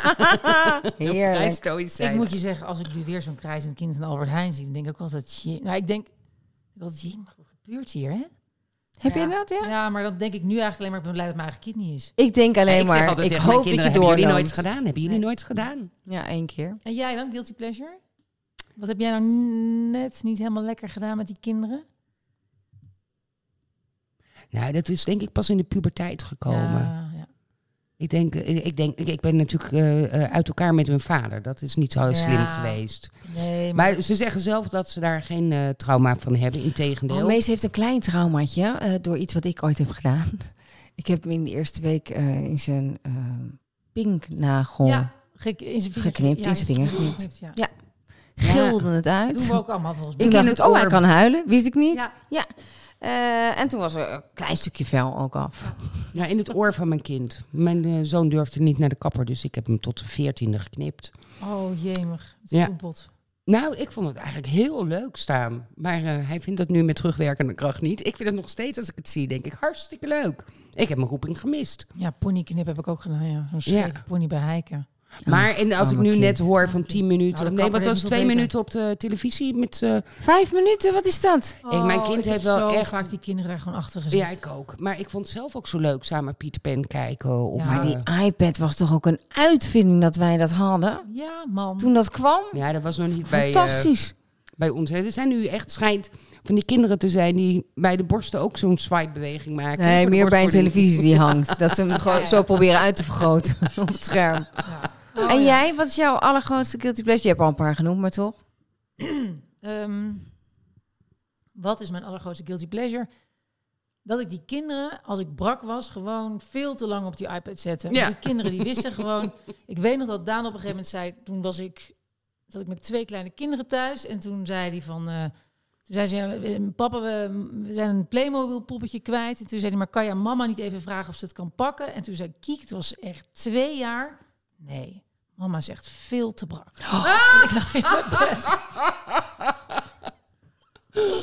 S5: Heerlijk.
S3: Ik moet je zeggen, als ik nu weer zo'n krijzend kind in Albert Heijn zie, dan denk ik ook altijd, shit. Nou, ik denk, ik altijd, jee, maar wat gebeurt hier, hè?
S5: Heb
S3: Ja.
S5: je dat, ja?
S3: Ja, maar dan denk ik nu eigenlijk alleen maar, ik ben blij dat mijn eigen kind niet is.
S5: Ik denk alleen
S4: ik zeg
S5: maar,
S4: altijd
S5: ik
S4: tegen mijn
S5: hoop dat
S4: kinderen,
S5: je
S4: hebben jullie
S5: doorloopt.
S4: nooit gedaan? Hebben jullie nooit gedaan?
S5: Ja, één keer.
S3: En jij dan, guilty pleasure? Wat heb jij nou net niet helemaal lekker gedaan met die kinderen?
S4: Nou, dat is denk ik pas in de puberteit gekomen.
S3: Ja, ja.
S4: Ik denk, eh, ik, denk ik, ik ben natuurlijk eh, eh, uit elkaar met hun vader. Dat is niet zo heel slim
S3: Ja.
S4: geweest.
S3: Nee, maar,
S4: Maar ze zeggen zelf dat ze daar geen eh, trauma van hebben. Integendeel.
S5: Oh, Mees heeft een klein traumaatje eh, door iets wat ik ooit heb gedaan. *laughs* Ik heb hem in de eerste week eh, in zijn eh, pinknagel.
S3: ja, ge- in zijn vinger-
S5: Geknipt, in zijn vinger geknipt.
S3: Ja.
S5: Ja. Gilde het
S3: Dat doen
S5: uit.
S3: we ook allemaal volgens mij.
S5: Ik dacht, ik, oh, hij kan huilen. Wist ik niet.
S3: Ja.
S5: Ja. Eh, en toen was er een klein stukje vel ook af.
S4: Ja, in het oor van mijn kind. Mijn eh, zoon durfde niet naar de kapper, dus ik heb hem tot zijn veertiende geknipt.
S3: Oh, jemig. Het is
S4: Ja.
S3: een pot.
S4: Nou, ik vond het eigenlijk heel leuk staan. Maar eh, hij vindt dat nu met terugwerkende kracht niet. Ik vind het nog steeds, als ik het zie, denk ik hartstikke leek. Ik heb mijn roeping gemist.
S3: Ja, ponyknip heb ik ook gedaan, ja. Zo'n scheve
S4: Ja.
S3: pony bij Heiken.
S4: maar en als ik
S5: arme
S4: nu
S5: kind.
S4: net hoor van 10 minuten.
S3: Nou, dat
S4: nee,
S3: kan
S4: wat
S3: voor
S4: was
S3: dit
S4: twee
S3: beter.
S4: minuten op de televisie? Met, eh,
S5: Vijf minuten, wat is dat?
S4: Hey, mijn kind
S3: Oh, ik
S4: heeft
S3: heb
S4: wel
S3: zo
S4: echt-
S3: vaak die kinderen daar gewoon achter gezet.
S4: ja, ik ook. Maar ik vond het zelf ook zo leuk samen Pieter Pan kijken. Of, eh,
S3: Ja.
S5: Maar
S4: ja.
S5: die iPad was toch ook een uitvinding dat wij dat hadden?
S3: Ja, man.
S5: Toen dat kwam?
S4: ja, dat was nog niet bij, eh,
S5: Fantastisch.
S4: bij ons. Hè. Er zijn nu echt schijnt van die kinderen te zijn die bij de borsten ook zo'n swipe beweging maken. Voor
S5: nee,
S4: de
S5: meer bij een
S4: borstvoeding.
S5: televisie die hangt. Dat ze hem gewoon
S3: ja.
S5: zo proberen uit te vergroten *laughs* op het scherm.
S3: Ja. Oh,
S5: en
S3: ja.
S5: jij, wat is jouw allergrootste guilty pleasure? Je hebt al een paar genoemd, maar toch?
S3: Ehm, wat is mijn allergrootste guilty pleasure? Dat ik die kinderen, als ik brak was, gewoon veel te lang op die iPad zette. Want
S4: Ja.
S3: Die kinderen die wisten gewoon... Ik weet nog dat Daan op een gegeven moment zei... Toen was ik, zat ik met twee kleine kinderen thuis. En toen zei hij van... eh, toen zei ze, ja, eh, papa, we, we zijn een Playmobil poppetje kwijt. En toen zei hij, maar kan je aan mama niet even vragen of ze het kan pakken? En toen zei Kiek, het was echt twee jaar. Nee, mama is echt veel te brak. En *laughs* Ik lag in mijn bed.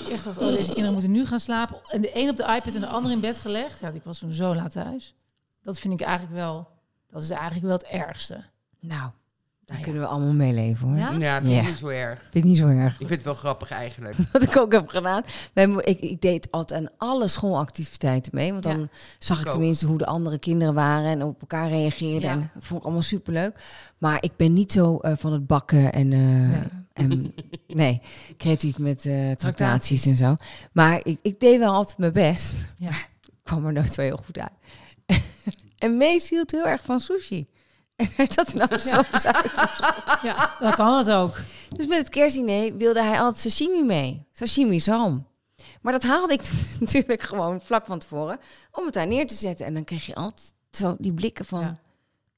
S3: Ik dacht, oh, deze kinderen moeten nu gaan slapen. En de een op de iPad en de ander in bed gelegd. Ja, ik was toen zo laat thuis. Dat vind ik eigenlijk wel, dat is eigenlijk wel het
S4: *laughs*
S3: ergste.
S5: Nou, daar kunnen we allemaal mee leven hoor.
S3: Ja?
S4: *laughs* Ja, vind ik
S5: Ja.
S4: niet zo erg.
S5: Vind ik niet zo erg.
S4: Ik vind het wel grappig eigenlijk.
S5: *laughs* Wat ik ook heb gedaan. Wij mo- ik, ik deed altijd aan alle schoolactiviteiten mee. Want dan
S3: Ja.
S5: zag ik
S4: ook.
S5: tenminste hoe de andere kinderen waren en op elkaar reageerden.
S3: Ja.
S5: En dat vond ik allemaal superleuk. Maar ik ben niet zo eh, van het bakken en, eh, en *laughs* nee, creatief met eh tractaties en zo. Maar ik, ik deed wel altijd mijn best.
S3: Ja.
S5: Maar ik *laughs* kwam er nooit zo heel goed uit. *laughs* en Mees hield heel erg van sushi. *laughs* En hij
S3: *laughs*
S5: zat in Amsterdam Zuid.
S3: Ja, dat kan het ook.
S5: Dus met het kerstdiner wilde hij altijd sashimi mee. Sashimi zalm. Maar dat haalde ik *laughs* natuurlijk gewoon vlak van tevoren. Om het daar neer te zetten. En dan kreeg je altijd zo die blikken van...
S3: Ja. Oh.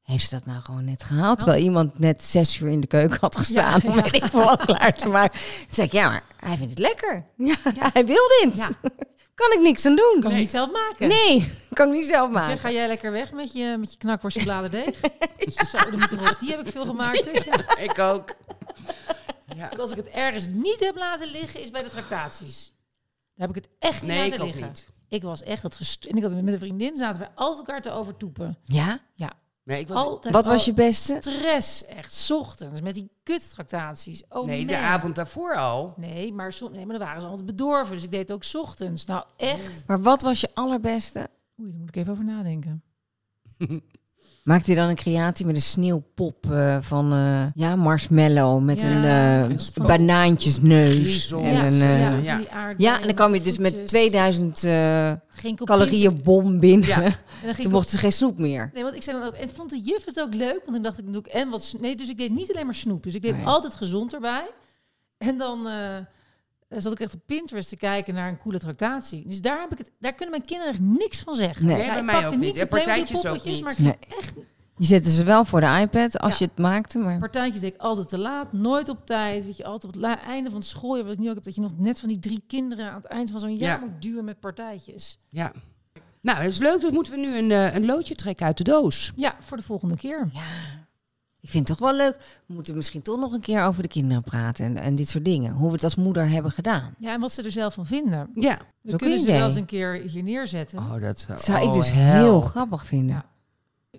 S5: Heeft ze dat nou gewoon net gehaald? Terwijl iemand net zes uur in de keuken had gestaan. Om weet ik veel wat klaar te maken. Toen zei ik, ja, maar hij vindt het lekker. Ja, *laughs* hij wil dit.
S3: Ja.
S5: Kan ik niks aan doen.
S3: Kan je niet zelf maken.
S5: Nee, *laughs* kan ik niet zelf maken.
S3: Zeg, ga jij lekker weg met je, met je knakworst
S4: *laughs*
S3: en bladerdeeg? Zo, dan moet er wel- die heb ik veel gemaakt. hè? Ja.
S4: Ik ook. Ja.
S3: Want als ik het ergens niet heb laten liggen, is bij de tractaties. Daar heb ik het echt niet
S4: Nee, ik
S3: laten
S4: ook
S3: liggen.
S4: niet.
S3: Ik was echt het gest... En ik had met een vriendin zaten wij altijd elkaar te overtoepen.
S6: Ja?
S4: Nee, ik was,
S3: Altijd
S5: Wat was
S3: al
S5: je beste?
S3: Stress, echt. 's Ochtends met die kuttractaties. Oh,
S4: nee,
S3: nee,
S4: de avond daarvoor al.
S3: Nee, maar, som- nee, maar dan waren ze altijd bedorven. Dus ik deed het ook 's ochtends. Nou, echt.
S5: Maar wat was je allerbeste?
S3: Oei, daar moet ik even over nadenken.
S5: Maakte je dan een creatie met een sneeuwpop eh, van eh, ja, marshmallow met
S3: Ja,
S5: een eh,
S3: en van-
S5: banaantjesneus?
S4: Griezels.
S5: En
S4: Ja,
S5: een,
S4: zo,
S5: eh,
S4: ja.
S3: van die aardbeien,
S5: ja, en dan kwam je dus met
S3: voetjes.
S5: 2000 eh,
S3: Geen kopie-
S5: calorieënbom binnen.
S3: En
S4: Ja.
S3: dan ging
S5: *laughs* Toen
S3: ik op-
S5: mochten ze geen snoep meer.
S3: Nee, want ik zei dan altijd, en vond de juf het ook leuk? Want dan dacht ik, dan doe ik en wat... s- Nee, dus ik deed niet alleen maar snoep. Dus ik deed
S5: Nee.
S3: altijd gezond erbij. En dan eh, zat ik echt op Pinterest te kijken naar een coole tractatie. Dus daar, heb ik het, daar kunnen mijn kinderen echt niks van zeggen.
S5: Nee.
S4: Nee, bij
S3: ik
S4: mij
S3: pakte
S4: ook niet.
S3: de
S4: En partijtjes ook
S3: poppetjes,
S4: niet.
S3: Maar ik
S5: Nee.
S3: ging echt
S5: Je zette ze wel voor de iPad als
S3: Ja.
S5: je het maakte, maar
S3: partijtjes deed ik altijd te laat, nooit op tijd. Weet je, altijd op het la- einde van het schooljaar, wat ik nu ook heb, dat je nog net van die drie kinderen aan het eind van zo'n jaar
S4: Ja.
S3: moet duwen met partijtjes.
S4: Ja. Nou, dat is leuk. Dan moeten we nu een, eh, een loodje trekken uit de doos.
S3: Ja, voor de volgende keer.
S5: ik vind het toch wel leuk. We moeten misschien toch nog een keer over de kinderen praten en, en dit soort dingen. Hoe we het als moeder hebben gedaan.
S3: Ja, en wat ze er zelf van vinden.
S4: Ja.
S3: We
S5: ook
S3: kunnen
S5: een
S3: ze wel
S5: idee.
S3: eens een keer hier neerzetten.
S4: Oh, dat
S5: Dat zou ik
S4: oh,
S5: dus
S4: hel.
S5: heel grappig vinden.
S3: Ja.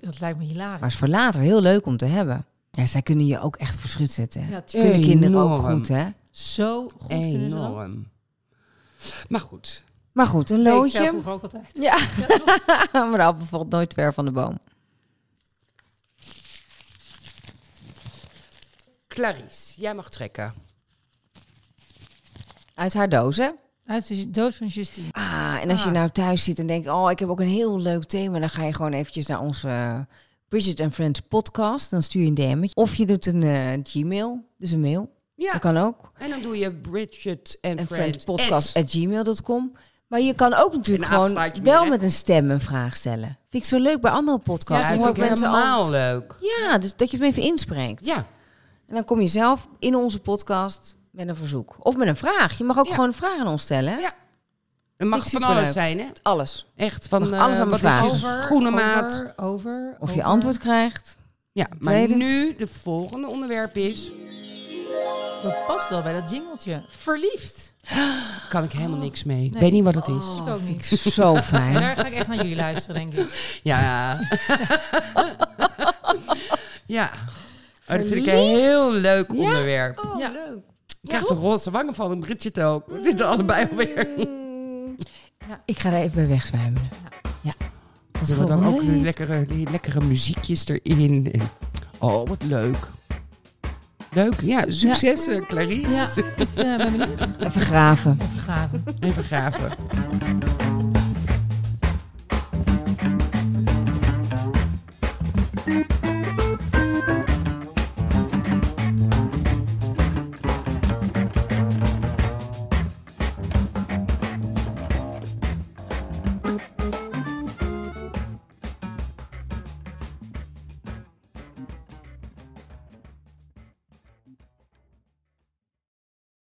S3: Dat lijkt me hilarisch.
S5: Maar is voor later heel leuk om te hebben. Ja, zij kunnen je ook echt voor schut zetten. hè?
S3: Ja, tuurlijk.
S5: kunnen kinderen ook
S4: Enorm.
S5: goed, hè?
S3: Zo goed kunnen ze dat.
S4: Enorm. Maar goed.
S5: Maar goed, een
S3: Deed Ik zelf
S5: loodje.
S3: vroeger ook altijd.
S5: Ja, *laughs* maar de appel valt nooit ver van de boom.
S4: Clarice, jij mag trekken.
S5: Uit haar doos, hè?
S3: Uit de dood van Justine.
S5: Ah, en als je
S3: Ah.
S5: nou thuis zit en denkt, oh, ik heb ook een heel leuk thema, dan ga je gewoon eventjes naar onze eh, Bridget and Friends podcast. Dan stuur je een DM'tje. Of je doet een eh, Gmail, dus een mail.
S4: Ja.
S5: Dat kan ook.
S4: En dan doe je Bridget en
S5: En
S4: Friends
S5: Friends podcast at gmail.com. Maar je kan ook natuurlijk
S4: Een
S5: gewoon
S4: apenstaartje
S5: wel
S4: meer, hè?
S5: met een stem een vraag stellen. Vind ik zo leuk bij andere podcasts.
S4: Ja,
S5: Dan
S4: dat
S5: hoor
S4: vind ik
S5: ik mensen
S4: helemaal
S5: altijd-
S4: leuk.
S5: Ja, dus dat je het even inspreekt.
S4: Ja.
S5: En dan kom je zelf in onze podcast met een verzoek. Of met een vraag. Je mag ook
S4: Ja.
S5: gewoon een vraag aan ons stellen. hè?
S4: Ja. Het mag
S5: Vind ik
S4: van alles
S5: superleuk.
S4: zijn, hè?
S5: Alles.
S4: Echt van
S5: Mag
S4: eh,
S5: alles aan me
S4: wat is je
S5: vragen.
S3: Over,
S4: groene
S3: over,
S4: maat.
S3: Over, over.
S5: Of
S4: eh,
S5: je antwoord
S4: *laughs*
S5: krijgt.
S4: Ja, maar
S5: Tweede.
S4: nu de volgende onderwerp is.
S3: Dat past wel bij dat jingeltje. Verliefd.
S4: Kan ik helemaal niks mee. Ik weet niet wat het is.
S3: oh,
S4: Oh,
S3: Ik ook niet.
S5: Zo
S3: En
S5: *laughs* fijn.
S3: daar ga ik echt naar jullie luisteren, denk ik.
S4: *laughs* Ja. ja. Oh, dat vind ik een heel leuk onderwerp.
S3: ja.
S4: Oh.
S5: leuk.
S4: Ik krijg de roze wangen van en Bridget ook. We zitten allebei alweer.
S5: Ik ga daar even bij wegzwijmen. Ja. Dat is
S4: Zullen we dan ook
S5: volgende
S4: die
S5: week.
S4: lekkere, die lekkere muziekjes erin? En- Oh, wat leuk. Leuk, ja. Succes, eh, Clarice.
S3: Ja, ik eh, ben benieuwd.
S5: Even graven.
S3: Graven.
S4: Even graven.